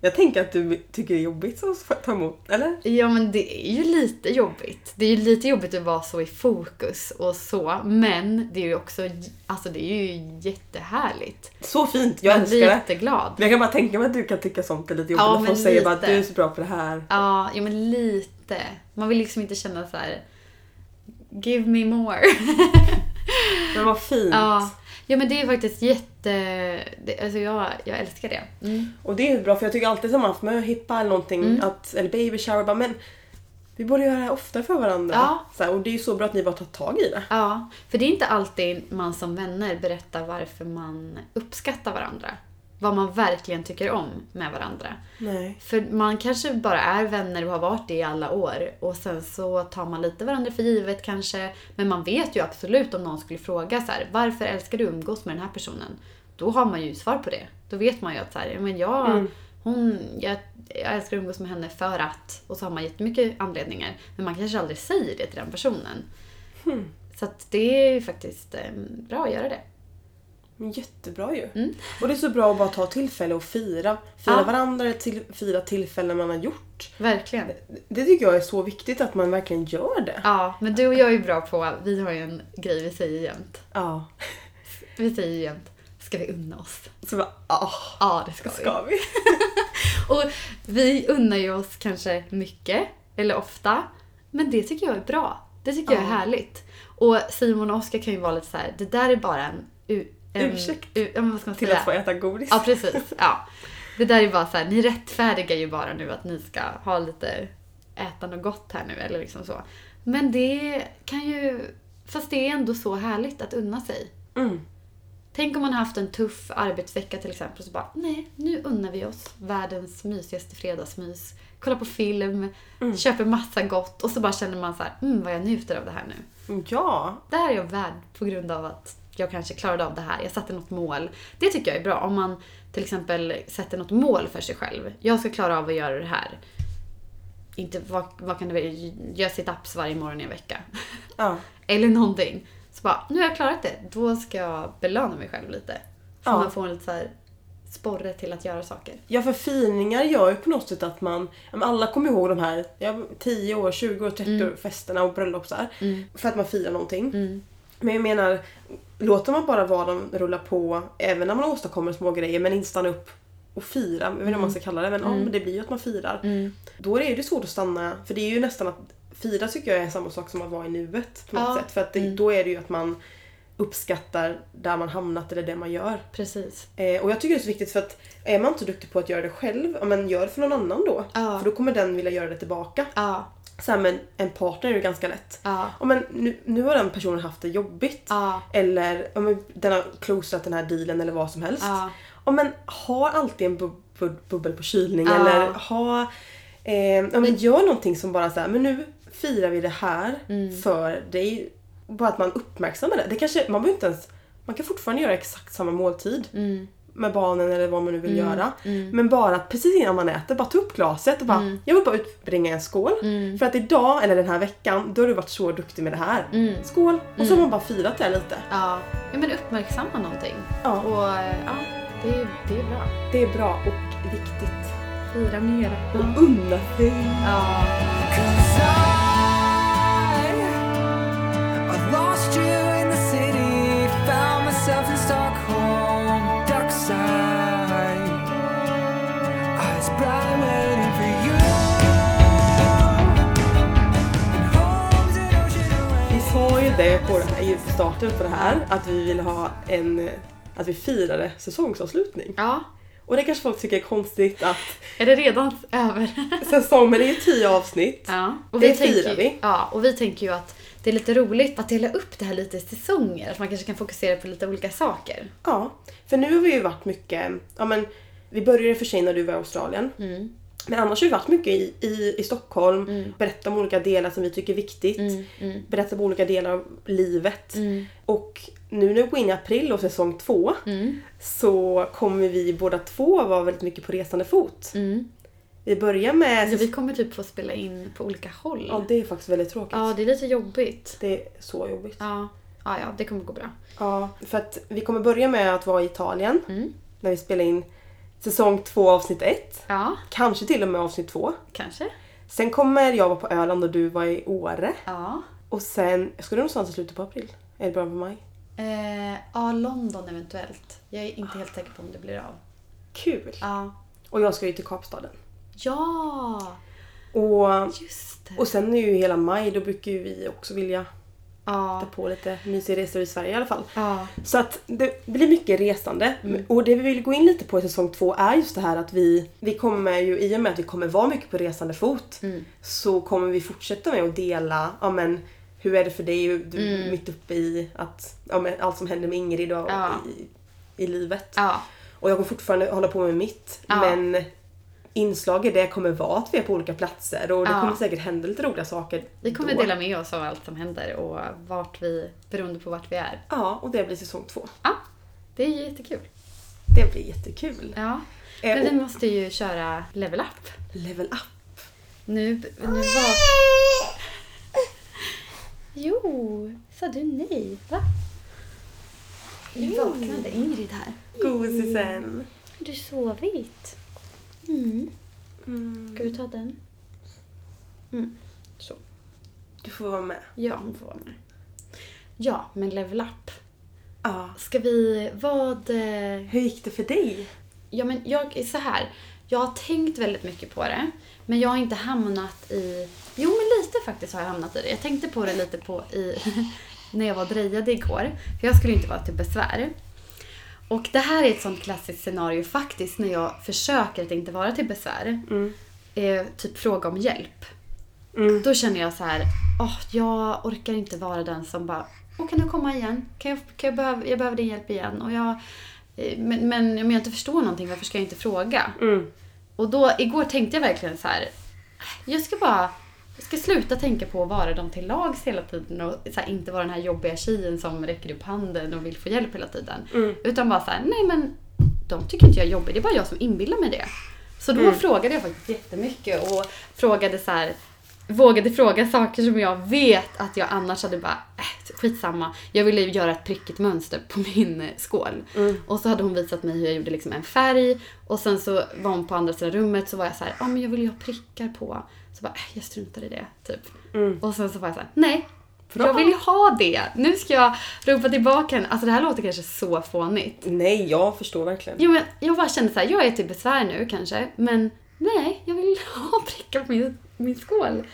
Speaker 1: jag tänker att du tycker det är jobbigt att ta emot, eller?
Speaker 2: Ja men det är ju lite jobbigt. Det är ju lite jobbigt att vara så i fokus och så. Men det är ju också, alltså det är ju jättehärligt.
Speaker 1: Så fint, jag
Speaker 2: Man
Speaker 1: älskar
Speaker 2: blir
Speaker 1: det.
Speaker 2: jätteglad.
Speaker 1: Men jag kan bara tänka mig att du kan tycka sånt är lite jobbigt.
Speaker 2: Ja,
Speaker 1: när
Speaker 2: men
Speaker 1: folk säger bara att
Speaker 2: lite.
Speaker 1: du är så bra på det här.
Speaker 2: Ja, ja men lite. Man vill liksom inte känna så här. Give me more.
Speaker 1: Men vad fint.
Speaker 2: Ja. ja, men det är faktiskt jätte... Det, alltså jag, jag älskar det. Mm.
Speaker 1: Och det är bra för jag tycker alltid som man haft med hippa eller någonting, att, eller baby shower, bara, men vi borde göra det här ofta för varandra.
Speaker 2: Ja.
Speaker 1: Så här, och det är ju så bra att ni bara tar tag i det.
Speaker 2: Ja, för det är inte alltid man som vänner berättar varför man uppskattar varandra. Vad man verkligen tycker om med varandra.
Speaker 1: Nej.
Speaker 2: För man kanske bara är vänner och har varit det i alla år och sen så tar man lite varandra för givet kanske. Men man vet ju absolut om någon skulle fråga så här, varför älskar du att umgås med den här personen? Då har man ju svar på det. Då vet man ju att så här, men jag,
Speaker 1: Mm.
Speaker 2: hon, jag, jag älskar att umgås med henne för att. Och så har man jättemycket anledningar. Men man kanske aldrig säger det till den personen. Så att det är ju faktiskt eh, bra att göra det.
Speaker 1: Men jättebra ju. Och det är så bra att bara ta tillfälle och fira. Fira
Speaker 2: Ja.
Speaker 1: varandra, till, fira tillfällen man har gjort.
Speaker 2: Verkligen.
Speaker 1: Det tycker jag är så viktigt att man verkligen gör det.
Speaker 2: Ja, men du och jag är ju bra på, vi har ju en grej vi säger jämt.
Speaker 1: Ja.
Speaker 2: Vi säger ju jämt, ska vi unna oss?
Speaker 1: Så bara, ah,
Speaker 2: Ja, det ska, vi.
Speaker 1: ska vi?
Speaker 2: Och vi unnar ju oss kanske mycket, eller ofta. Men det tycker jag är bra. Det tycker jag är
Speaker 1: Ja.
Speaker 2: härligt. Och Simon och Oskar kan ju vara lite så här, det där är bara en... u- en
Speaker 1: Ursäkt.
Speaker 2: u- ja, men vad ska man
Speaker 1: Till
Speaker 2: säga?
Speaker 1: att få äta godis.
Speaker 2: Ja, precis. Ja. Det där är bara så här, ni rättfärdigar ju bara nu att ni ska ha lite, äta något gott här nu eller liksom så. Men det kan ju, fast det är ändå så härligt att unna sig.
Speaker 1: Mm.
Speaker 2: Tänk om man har haft en tuff arbetsvecka till exempel så bara, nej, nu unnar vi oss världens mysigaste fredagsmys. Kolla på film, köper massa gott och så bara känner man så här, mm, vad jag njuter av det här nu.
Speaker 1: Ja,
Speaker 2: Där är jag värd på grund av att jag kanske klarade av det här. Jag satte något mål. Det tycker jag är bra. Om man till exempel sätter något mål för sig själv. Jag ska klara av att göra det här. inte, vad, vad kan det vara, gör sit-ups varje morgon i en vecka.
Speaker 1: Ja.
Speaker 2: Eller någonting. Så bara, nu har jag klarat det. Då ska jag belöna mig själv lite. Så
Speaker 1: Ja.
Speaker 2: man får en lite så här sporre till att göra saker.
Speaker 1: Ja för finingar gör ju på något sätt att man, ja, men alla kommer ihåg de här ja, 10 år, 20 år, 30 år festerna och bröllop så här,
Speaker 2: Mm.
Speaker 1: För att man firar någonting. Men jag menar, låter man bara vardagen rulla på även när man åstadkommer små grejer men inte stanna upp och fira, jag vet inte vad
Speaker 2: Mm.
Speaker 1: man ska kalla det men, ja, men det blir ju att man firar. Då är det ju svårt att stanna, för det är ju nästan att fira tycker jag är samma sak som att vara i nuet på något
Speaker 2: Ja. Mm.
Speaker 1: sätt. För att det, då är det ju att man uppskattar där man hamnat eller det man gör.
Speaker 2: Precis.
Speaker 1: Eh, och jag tycker det är så viktigt för att är man inte duktig på att göra det själv, ja, men gör det för någon annan då.
Speaker 2: Ja.
Speaker 1: För då kommer den vilja göra det tillbaka.
Speaker 2: Ja.
Speaker 1: Så här, men en partner är ju ganska lätt.
Speaker 2: Ja.
Speaker 1: Ja, men nu, nu har den personen haft det jobbigt.
Speaker 2: Ja.
Speaker 1: Eller ja, men, den har closat den här dealen eller vad som helst.
Speaker 2: Ja.
Speaker 1: Ja, men ha alltid en bub- bub- bubbel på kylning
Speaker 2: Ja.
Speaker 1: eller ha... Eh, ja, men gör någonting som bara så här, men nu firar vi det här för dig. Bara att man uppmärksammar det. det kanske, man, behöver inte ens, man kan fortfarande göra exakt samma måltid.
Speaker 2: Mm.
Speaker 1: Med barnen eller vad man nu vill göra. Men bara att precis innan man äter, bara ta upp glaset och bara Jag vill bara utbringa en skål.
Speaker 2: Mm.
Speaker 1: För att idag, eller den här veckan, då har du varit så duktig med det här.
Speaker 2: Mm.
Speaker 1: Skål! Och så har man bara firat det här lite.
Speaker 2: Ja, ja men uppmärksamma någonting.
Speaker 1: Ja.
Speaker 2: Och eh, ja, det, är- det är bra.
Speaker 1: Det är bra och viktigt.
Speaker 2: Fira mer.
Speaker 1: Och unna sig.
Speaker 2: Ja.
Speaker 3: Cause I, I lost you in the city, found myself in Stockholm, dockside. Eyes bright, waiting for you. In homes and ocean away.
Speaker 1: Vi sa ju det på den här i starten för det här, att vi ville ha en att vi firade säsongsavslutning.
Speaker 2: ja.
Speaker 1: Och det kanske folk tycker är konstigt att
Speaker 2: Är det redan över?
Speaker 1: säsongen är ju tio avsnitt.
Speaker 2: ja. Och
Speaker 1: Det
Speaker 2: tänker
Speaker 1: firar
Speaker 2: ju,
Speaker 1: vi.
Speaker 2: Ja, och vi tänker ju att det är lite roligt att dela upp det här lite i säsonger. Att man kanske kan fokusera på lite olika saker.
Speaker 1: Ja, för nu har vi ju varit mycket, ja men vi började för sig när du var i Australien.
Speaker 2: Mm.
Speaker 1: Men annars har vi varit mycket i, i, i Stockholm, berätta om olika delar som vi tycker är viktigt, berätta om olika delar av livet. Och nu när vi går in i april och säsong två
Speaker 2: Mm.
Speaker 1: så kommer vi båda två vara väldigt mycket på resande fot.
Speaker 2: Mm.
Speaker 1: Vi börjar med...
Speaker 2: Så vi kommer typ få spela in på olika håll.
Speaker 1: Ja, det är faktiskt väldigt tråkigt.
Speaker 2: Ja, det är lite jobbigt.
Speaker 1: Det är så jobbigt.
Speaker 2: Ja. Ja, ja, det kommer gå bra.
Speaker 1: Ja, för att vi kommer börja med att vara i Italien
Speaker 2: Mm.
Speaker 1: när vi spelar in säsong två avsnitt ett.
Speaker 2: Ja,
Speaker 1: Kanske till och med avsnitt två.
Speaker 2: kanske.
Speaker 1: Sen kommer jag vara på Öland och du var i Åre.
Speaker 2: Ja.
Speaker 1: Och sen, jag skulle någonstans i slutet på april. Eller början på maj.
Speaker 2: Eh, ja, London eventuellt. Jag är inte helt säker på om det blir av.
Speaker 1: Kul!
Speaker 2: Ja.
Speaker 1: Och jag ska ju till Kapstaden.
Speaker 2: Ja!
Speaker 1: Och,
Speaker 2: Just det.
Speaker 1: och sen är ju hela maj, då brukar ju vi också vilja ta
Speaker 2: Ja.
Speaker 1: på lite mysiga resor i Sverige i alla fall.
Speaker 2: Ja.
Speaker 1: Så att det blir mycket resande.
Speaker 2: Mm.
Speaker 1: Och det vi vill gå in lite på i säsong två är just det här att vi, vi kommer ju, i och med att vi kommer vara mycket på resande fot,
Speaker 2: Mm.
Speaker 1: så kommer vi fortsätta med att dela, ja men hur är det för dig? Du är mitt uppe i att, ja, men allt som händer med Ingrid och
Speaker 2: Mm. Ja.
Speaker 1: i, i livet.
Speaker 2: Ja.
Speaker 1: Och jag kommer fortfarande hålla på med mitt.
Speaker 2: Ja.
Speaker 1: Men inslag i det kommer vara att vi är på olika platser och det
Speaker 2: Ja.
Speaker 1: kommer säkert hända lite roliga saker.
Speaker 2: Vi kommer
Speaker 1: då.
Speaker 2: dela med oss av allt som händer och vart vi, beroende på vart vi är.
Speaker 1: Ja, och det blir säsong två.
Speaker 2: Ja, det är ju jättekul.
Speaker 1: Det blir jättekul.
Speaker 2: Ja.
Speaker 1: Eh,
Speaker 2: Men vi
Speaker 1: och-
Speaker 2: måste ju köra level up.
Speaker 1: Level up.
Speaker 2: Nu, nu var... Jo, sa du nej? Va? Nu vaknade Ingrid här.
Speaker 1: Gosisen.
Speaker 2: Har du sovit? Mm. Ska du ta den? Så.
Speaker 1: Du får vara med.
Speaker 2: Ja, hon får vara med. Ja, men level up.
Speaker 1: Ja.
Speaker 2: Ska vi... Vad... eh,
Speaker 1: Hur gick det för dig?
Speaker 2: Ja, men jag är så här. Jag har tänkt väldigt mycket på det, men jag har inte hamnat i... Jo, men lite faktiskt har jag hamnat i det. Jag tänkte på det lite på i... när jag var och drejade igår, för jag skulle ju inte vara till besvär. Och det här är ett sånt klassiskt scenario faktiskt när jag försöker att inte vara till besvär. Eh, typ fråga om hjälp. Då känner jag så här, åh, jag orkar inte vara den som bara, åh kan du komma igen? Kan jag, kan jag, behöva, jag behöver din hjälp igen. Och jag, eh, men, men om jag inte förstår någonting, varför ska jag inte fråga?
Speaker 1: Mm.
Speaker 2: Och då, igår tänkte jag verkligen så här, jag ska bara jag ska sluta tänka på att vara dem till lags hela tiden och så här, inte vara den här jobbiga tjejen som räcker upp handen och vill få hjälp hela tiden. Utan bara så här, nej men de tycker inte jag är jobbig, det är bara jag som inbillar mig det. Så då frågade jag faktiskt jättemycket och frågade så här vågade fråga saker som jag vet att jag annars hade bara äh, skitsamma. Jag ville ju göra ett prickigt mönster på min eh, skål. Och så hade hon visat mig hur jag gjorde liksom en färg och sen så var hon på andra sidan rummet så var jag så här, ja ah, men jag vill ju ha prickar på. Så bara, äh, jag struntar i det typ. Och sen så var jag så här, nej. Jag vill ju ha det! Nu ska jag ropa tillbaka henne. Alltså det här låter kanske så fånigt.
Speaker 1: Nej, jag förstår verkligen.
Speaker 2: Jo, men jag bara kände så här, jag är till besvär nu kanske, men nej, jag vill ha prickar på min, min skål.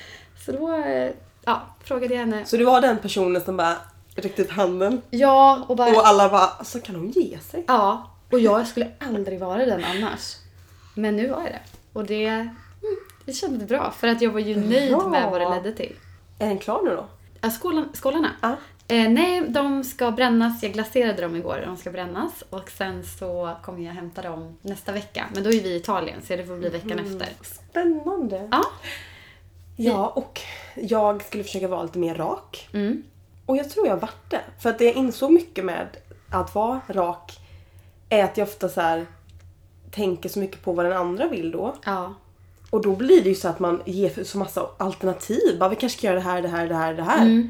Speaker 2: Så då eh, ja, frågade jag henne.
Speaker 1: Så du var den personen som bara räckte upp handen
Speaker 2: Ja, och bara...
Speaker 1: och alla bara alltså kan hon ge sig?
Speaker 2: Ja, och jag skulle aldrig vara den annars. Men nu var jag det. Och det, mm, det kändes bra, för att jag var ju nöjd
Speaker 1: Bra.
Speaker 2: med vad det ledde till.
Speaker 1: Är den klar nu då?
Speaker 2: Ja, skålen, skålarna.
Speaker 1: Ja.
Speaker 2: Eh, nej, de ska brännas. Jag glaserade dem igår. De ska brännas. Och sen så kommer jag hämta dem nästa vecka. Men då är vi i Italien, så det får bli veckan efter.
Speaker 1: Spännande.
Speaker 2: Ja.
Speaker 1: Ja, och jag skulle försöka vara lite mer rak.
Speaker 2: Mm.
Speaker 1: Och jag tror jag vart det. För att det jag insåg mycket med att vara rak är att jag ofta så här tänker så mycket på vad den andra vill då.
Speaker 2: Ja.
Speaker 1: Och då blir det ju så att man ger så massa alternativ. Bara, vi kanske ska göra det här, det här, det här, det här.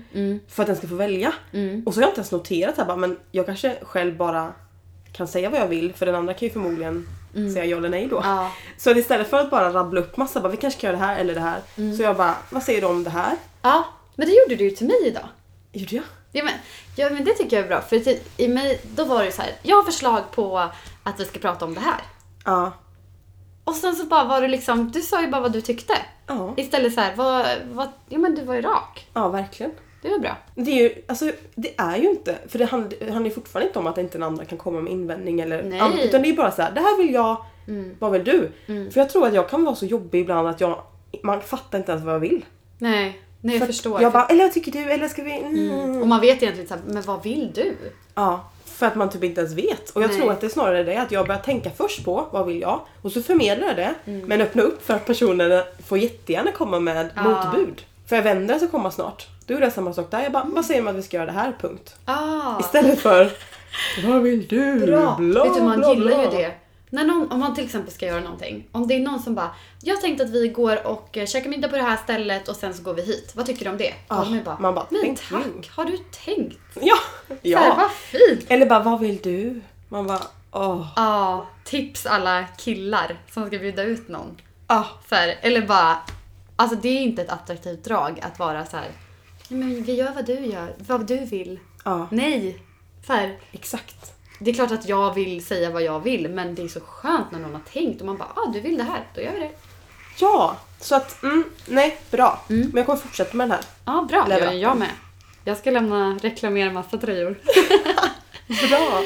Speaker 1: För att den ska få välja. Och så har jag inte ens noterat här, bara, men jag kanske själv bara kan säga vad jag vill för den andra kan ju förmodligen säga ja eller nej då.
Speaker 2: Ja.
Speaker 1: Så att istället för att bara rabbla upp massa, bara, vi kanske ska göra det här eller det här. Så jag bara, vad säger du om det här?
Speaker 2: ja. Men det gjorde du ju till mig idag.
Speaker 1: Gjorde jag?
Speaker 2: Ja men, ja, men det tycker jag är bra. För till, i mig, då var det ju så här, jag har förslag på att vi ska prata om det här.
Speaker 1: Ja.
Speaker 2: Och sen så bara var du liksom, du sa ju bara vad du tyckte.
Speaker 1: Ja,
Speaker 2: Istället så här, vad, vad, ja men du var ju rak.
Speaker 1: ja verkligen.
Speaker 2: Det var bra.
Speaker 1: Det är ju, alltså, det är ju inte, för det hand- det handlar ju fortfarande inte om att inte den andra kan komma med invändning eller
Speaker 2: Nej. Mm.
Speaker 1: an- Utan det är bara så här, det här vill jag, vad vill du? För jag tror att jag kan vara så jobbig ibland att jag, man fattar inte ens vad jag vill.
Speaker 2: Nej, nej jag
Speaker 1: För att
Speaker 2: förstår.
Speaker 1: Jag bara, eller vad tycker du? Eller ska vi? Mm.
Speaker 2: och man vet egentligen så här, men vad vill du?
Speaker 1: Ja, för att man typ inte ens vet. Och jag
Speaker 2: Nej.
Speaker 1: tror att det är snarare det att jag börjar tänka först på vad vill jag? Och så förmedlar jag det. Men öppna upp för att personerna får jättegärna komma med
Speaker 2: Mm. Ja.
Speaker 1: motbud. För jag vänder det så komma snart. Då är det samma sak där. Jag bara, vad säger man att vi ska göra det här? Punkt.
Speaker 2: Ah,
Speaker 1: Istället för Vad vill du?
Speaker 2: bra.
Speaker 1: Bla,
Speaker 2: vet du, man
Speaker 1: bla,
Speaker 2: gillar ju
Speaker 1: bla.
Speaker 2: det. När någon, om man till exempel ska göra någonting. Om det är någon som bara, jag tänkte att vi går och eh, käkar middag på det här stället och sen så går vi hit. Vad tycker du om det?
Speaker 1: Ah,
Speaker 2: och bara,
Speaker 1: man bara,
Speaker 2: men
Speaker 1: thank
Speaker 2: tack,
Speaker 1: you."
Speaker 2: har du tänkt?
Speaker 1: Ja!
Speaker 2: Ja. Här,
Speaker 1: ja.
Speaker 2: vad fint!
Speaker 1: Eller bara vad vill du? Man bara åh.
Speaker 2: Ja, tips alla killar som ska bjuda ut någon.
Speaker 1: Ah,
Speaker 2: Så här, eller bara, alltså det är inte ett attraktivt drag att vara så här. "Nej, men vi gör vad du gör, vad du vill.
Speaker 1: ja,
Speaker 2: Nej! Så här,
Speaker 1: exakt.
Speaker 2: det är klart att jag vill säga vad jag vill men det är så skönt när någon har tänkt och man bara ah, du vill det här, då gör vi det.
Speaker 1: Ja, så att mm, nej, bra.
Speaker 2: Mm.
Speaker 1: Men jag kommer fortsätta med den här.
Speaker 2: Ja, bra. Det gör
Speaker 1: Lever.
Speaker 2: jag med. Jag ska lämna reklamera massa tröjor.
Speaker 1: Bra!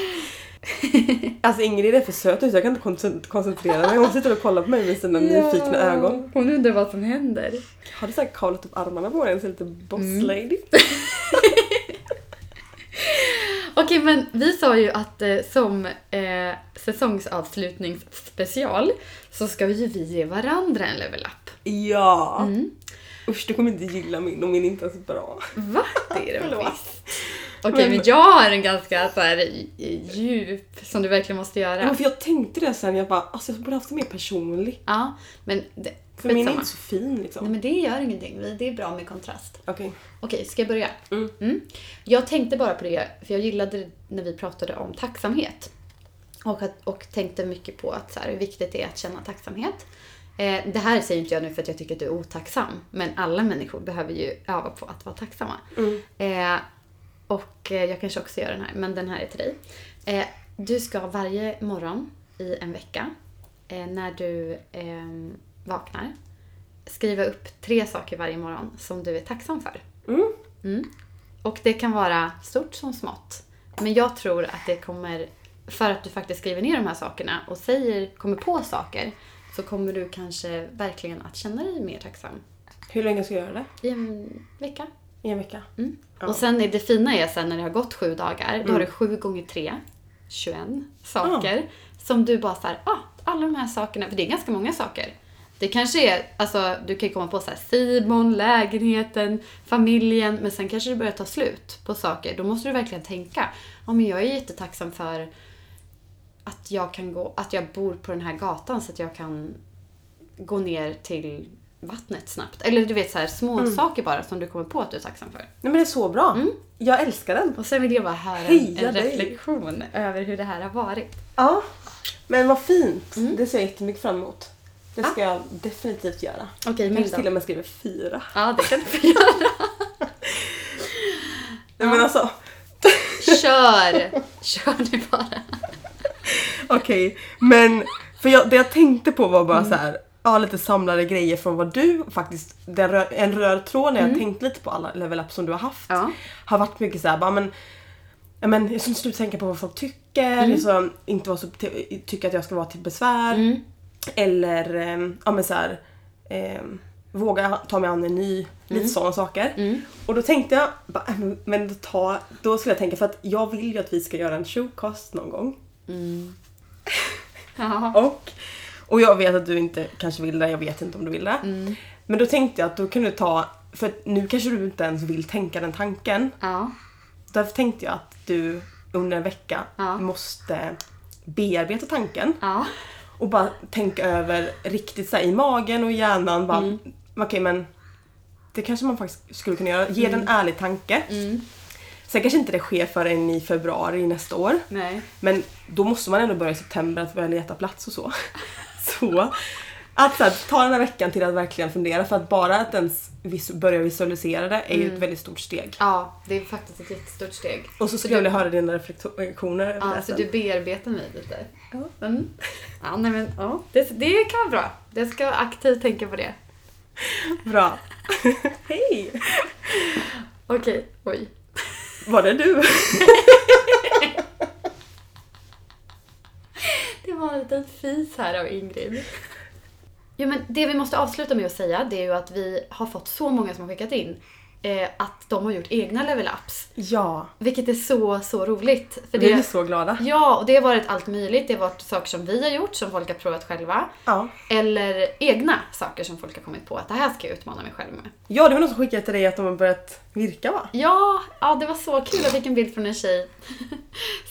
Speaker 1: alltså Ingrid är för söt ut, jag kan inte kon- koncentrera mig. Hon sitter och kollar på mig med sina nyfikna ögon.
Speaker 2: Hon undrar vad som händer.
Speaker 1: Har du säkert kavlat upp armarna på den så lite boss
Speaker 2: Mm.
Speaker 1: lady?
Speaker 2: Okej, men vi sa ju att eh, som eh, säsongsavslutningsspecial så ska ju vi ge varandra en level-up.
Speaker 1: Ja!
Speaker 2: Mm.
Speaker 1: Usch, du kommer inte gilla min och min är inte ens bra.
Speaker 2: Va? Det är det
Speaker 1: Förlåt.
Speaker 2: visst. Okej, men jag har en ganska så här eh, djup som du verkligen måste
Speaker 1: Ja,
Speaker 2: göra.
Speaker 1: för jag tänkte det sen, jag bara alltså jag borde haft det mer personlig.
Speaker 2: Ja, men det,
Speaker 1: För min är
Speaker 2: skitsamma.
Speaker 1: inte så fin liksom.
Speaker 2: Nej, men det gör ingenting. Vi- Det är bra med kontrast.
Speaker 1: Okej.
Speaker 2: Okej, ska jag börja?
Speaker 1: Mm.
Speaker 2: Jag tänkte bara på det, för jag gillade det när vi pratade om tacksamhet. Och, att, och tänkte mycket på att så här, hur viktigt det är att känna tacksamhet. Eh, det här säger inte jag nu för att jag tycker att du är otacksam. Men alla människor behöver ju öva på att vara tacksamma. Eh, och eh, jag kanske också gör den här, men den här är till dig. Eh, du ska varje morgon i en vecka, eh, när du ehm, vaknar, skriva upp tre saker varje morgon som du är tacksam för.
Speaker 1: Mm.
Speaker 2: Och det kan vara stort som smått. Men jag tror att det kommer, för att du faktiskt skriver ner de här sakerna och säger, kommer på saker, så kommer du kanske verkligen att känna dig mer tacksam
Speaker 1: Hur länge ska jag göra det?
Speaker 2: i en vecka.
Speaker 1: I en vecka?
Speaker 2: Mm.
Speaker 1: Ja.
Speaker 2: Och sen är det fina är sen när det har gått sju dagar, då har du sju gånger tre, 21 saker. Som du bara såhär, ah, alla de här sakerna, för det är ganska många saker. Det kanske är, alltså du kan ju komma på såhär Simon, lägenheten, familjen, men sen kanske det börjar ta slut på saker. Då måste du verkligen tänka, ja men jag är jättetacksam för att jag kan gå, att jag bor på den här gatan så att jag kan gå ner till vattnet snabbt. Eller du vet så här små saker bara som du kommer på att du är tacksam för.
Speaker 1: Nej men det är så bra.
Speaker 2: Mm.
Speaker 1: Jag älskar den.
Speaker 2: Och sen vill jag bara höra en,
Speaker 1: Heja
Speaker 2: en
Speaker 1: dig!
Speaker 2: reflektion över hur det här har varit.
Speaker 1: Ja. Men vad fint.
Speaker 2: Mm.
Speaker 1: Det ser jag jättemycket fram emot. Det ska jag definitivt göra.
Speaker 2: Ah. Okej,
Speaker 1: Jag
Speaker 2: men
Speaker 1: kanske
Speaker 2: då.
Speaker 1: till och med skriver fyra.
Speaker 2: Ja, det kan du få göra.
Speaker 1: Nej
Speaker 2: Ah.
Speaker 1: men alltså.
Speaker 2: Kör! Kör nu bara.
Speaker 1: Okej, men för jag, det jag tänkte på var bara så här, ja lite samlade grejer från vad du faktiskt, den rö, en röd tråd när jag tänkte lite på alla level up som du har haft.
Speaker 2: Ja.
Speaker 1: Har varit mycket så här, bara men, ja, men jag ska inte sluta tänka på vad folk tycker, liksom, inte vara så, ty- tycka att jag ska vara till besvär. Eller ehm, ja men så här, ehm, våga ta mig an en ny, lite sådana saker. Och då tänkte jag, bara, äh, men- men då, ta, då skulle jag tänka för att jag vill ju att vi ska göra en showcast någon gång.
Speaker 2: Ja.
Speaker 1: Och, och jag vet att du inte kanske vill det, jag vet inte om du vill det. Men då tänkte jag att då kan du ta, för att nu kanske du inte ens vill tänka den tanken.
Speaker 2: Ja.
Speaker 1: Därför tänkte jag att du under en vecka
Speaker 2: Ja.
Speaker 1: måste bearbeta tanken
Speaker 2: Ja.
Speaker 1: och bara tänka över riktigt så här, i magen och i hjärnan. Bara, Okej men det kanske man faktiskt skulle kunna göra. Ge den en ärlig tanke. Sen kanske inte det sker förrän i februari nästa år.
Speaker 2: Nej.
Speaker 1: Men då måste man ändå börja i september att börja leta plats och så. så att så här, ta den här veckan till att verkligen fundera för att bara att ens vis- börja visualisera det är ju ett väldigt stort steg.
Speaker 2: Ja, det är faktiskt ett jättestort steg.
Speaker 1: Och Mm. så skulle jag vilja höra dina reflektioner Alltså, över det
Speaker 2: Ja, så
Speaker 1: sen.
Speaker 2: du bearbetar mig lite.
Speaker 1: Ja.
Speaker 2: Mm. Ja, nej men ja. Det, det kan vara bra. Jag ska aktivt tänka på det.
Speaker 1: Bra. Hej!
Speaker 2: Okej, oj.
Speaker 1: Var det du?
Speaker 2: Det var en liten fis här av Ingrid. Jo, men det vi måste avsluta med att säga det är ju att vi har fått så många som har skickat in eh, att de har gjort egna level-ups.
Speaker 1: Ja,
Speaker 2: Vilket är så, så roligt. För
Speaker 1: vi är
Speaker 2: det,
Speaker 1: så glada.
Speaker 2: ja, och det har varit allt möjligt. Det har varit saker som vi har gjort, som folk har provat själva.
Speaker 1: Ja.
Speaker 2: Eller egna saker som folk har kommit på att det här ska jag utmana mig själv med.
Speaker 1: ja, det var någon som skickade till dig att de har börjat virka va?
Speaker 2: Ja, ja det var så kul. Jag fick en bild från en tjej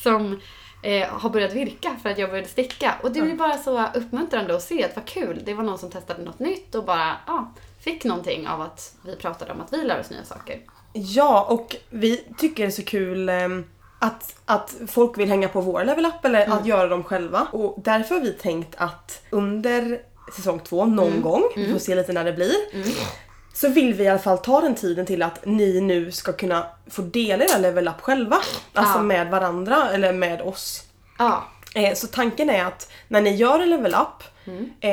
Speaker 2: som eh, har börjat virka för att jag började sticka. Och det blir bara så uppmuntrande att se att vad kul. Det var någon som testade något nytt och bara ja, fick någonting av att vi pratade om att vi lär oss nya saker.
Speaker 1: Ja, och vi tycker det är så kul ehm, att, att folk vill hänga på vår level up eller att göra dem själva. Och därför har vi tänkt att under säsong två, någon gång, vi får se lite när det blir, så vill vi i alla fall ta den tiden till att ni nu ska kunna få dela era level up själva. Alltså
Speaker 2: Ja.
Speaker 1: med varandra eller med oss.
Speaker 2: Ja,
Speaker 1: Eh, så tanken är att när ni gör en level up, eh,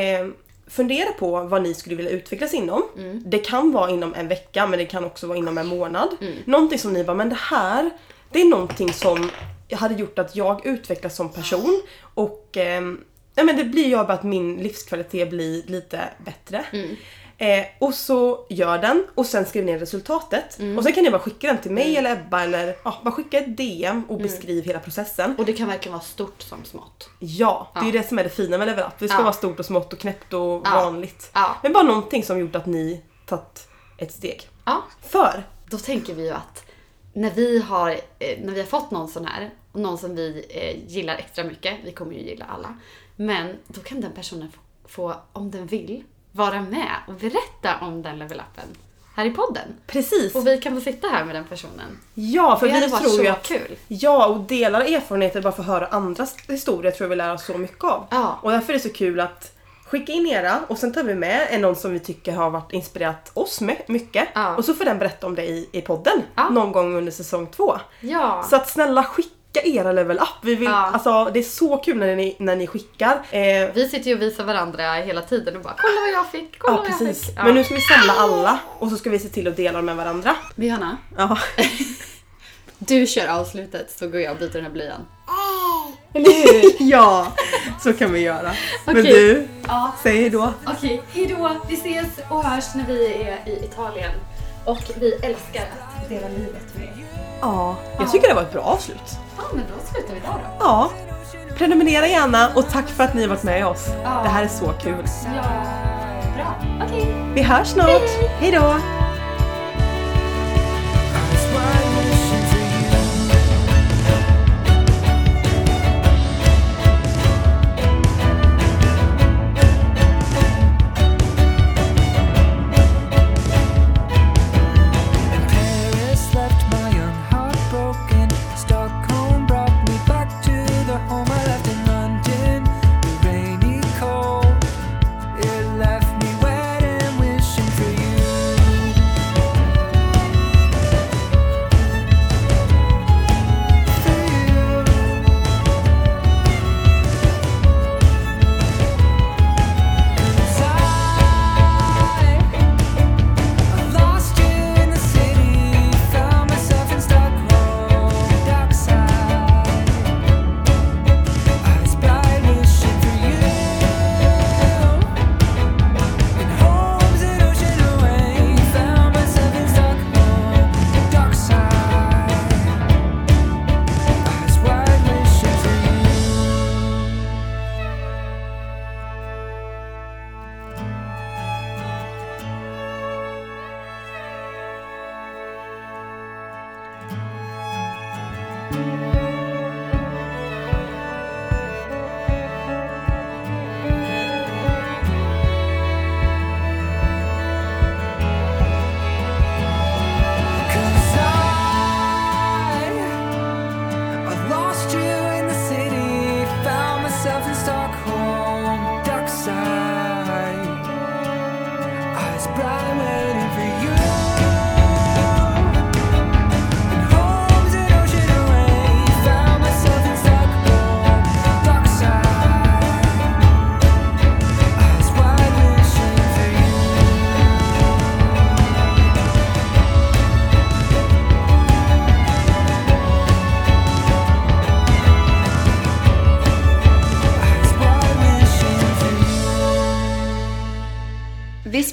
Speaker 1: fundera på vad ni skulle vilja utvecklas inom. Det kan vara inom en vecka men det kan också vara inom en månad. Någonting som ni bara, men det här, det är någonting som hade gjort att jag utvecklas som person och ehm, nej men det blir jag bara att min livskvalitet blir lite bättre. Eh, och så gör den och sen skriver ner resultatet. Och sen kan ni bara skicka den till mig eller Ebba eller ja, bara skicka ett DM och beskriv hela processen.
Speaker 2: och det kan verkligen vara stort som smått.
Speaker 1: Ja, det är ju det som är det fina med Level Up. Det ska
Speaker 2: Ja.
Speaker 1: vara stort och smått och knäppt och
Speaker 2: Ja.
Speaker 1: vanligt.
Speaker 2: Ja.
Speaker 1: Men bara någonting som gjort att ni tagit ett steg.
Speaker 2: Ja,
Speaker 1: För,
Speaker 2: då tänker vi ju att när vi har, eh, när vi har fått någon sån här, och någon som vi eh, gillar extra mycket, vi kommer ju gilla alla, men då kan den personen få, få om den vill, vara med och berätta om den level-upen här i podden.
Speaker 1: precis.
Speaker 2: Och vi kan få sitta här med den personen.
Speaker 1: Ja, för
Speaker 2: Det hade
Speaker 1: vi
Speaker 2: varit
Speaker 1: tror ju
Speaker 2: så
Speaker 1: att...
Speaker 2: kul.
Speaker 1: Ja, och delar erfarenheter bara för att höra andras historier tror jag vi lär oss så mycket av.
Speaker 2: Ja.
Speaker 1: Och därför är det så kul att skicka in era och sen tar vi med en någon som vi tycker har varit inspirerat oss my- mycket.
Speaker 2: Ja.
Speaker 1: Och så får den berätta om det i, i podden
Speaker 2: Ja.
Speaker 1: någon gång under säsong två.
Speaker 2: Ja.
Speaker 1: Så att snälla skicka era level up. Vi vill,
Speaker 2: Ja.
Speaker 1: alltså, det är så kul när ni, när ni skickar. Eh,
Speaker 2: Vi sitter ju och visar varandra hela tiden och bara “kolla vad jag fick, kolla
Speaker 1: ja
Speaker 2: vad jag
Speaker 1: precis.
Speaker 2: fick”. Ja.
Speaker 1: Men nu ska vi samla alla och så ska vi se till att dela dem med varandra.
Speaker 2: Johanna,
Speaker 1: Ja.
Speaker 2: du kör avslutet så går jag och byter den här blöjan.
Speaker 1: ja, så kan vi göra. Men
Speaker 2: Okej.
Speaker 1: du,
Speaker 2: Ja.
Speaker 1: säg hejdå.
Speaker 2: Okej, hejdå! Vi ses och hörs när vi är i Italien. Och vi älskar att dela livet med er.
Speaker 1: Ja, jag tycker det var ett bra avslut.
Speaker 2: Ja, men då slutar vi där då.
Speaker 1: Ja, prenumerera gärna och tack för att ni har varit med oss.
Speaker 2: Ja.
Speaker 1: Det här är så kul.
Speaker 2: Ja, bra. Okej.
Speaker 1: Vi hörs snart. Hej då!
Speaker 3: Cause I, I lost you in the city, found myself in Stockholm, dark side. Eyes bright, waiting for you. In homes and ocean away, found myself in Stockholm, dark side. Eyes wide, wishing for you. Eyes wide, wishing for you.
Speaker 4: This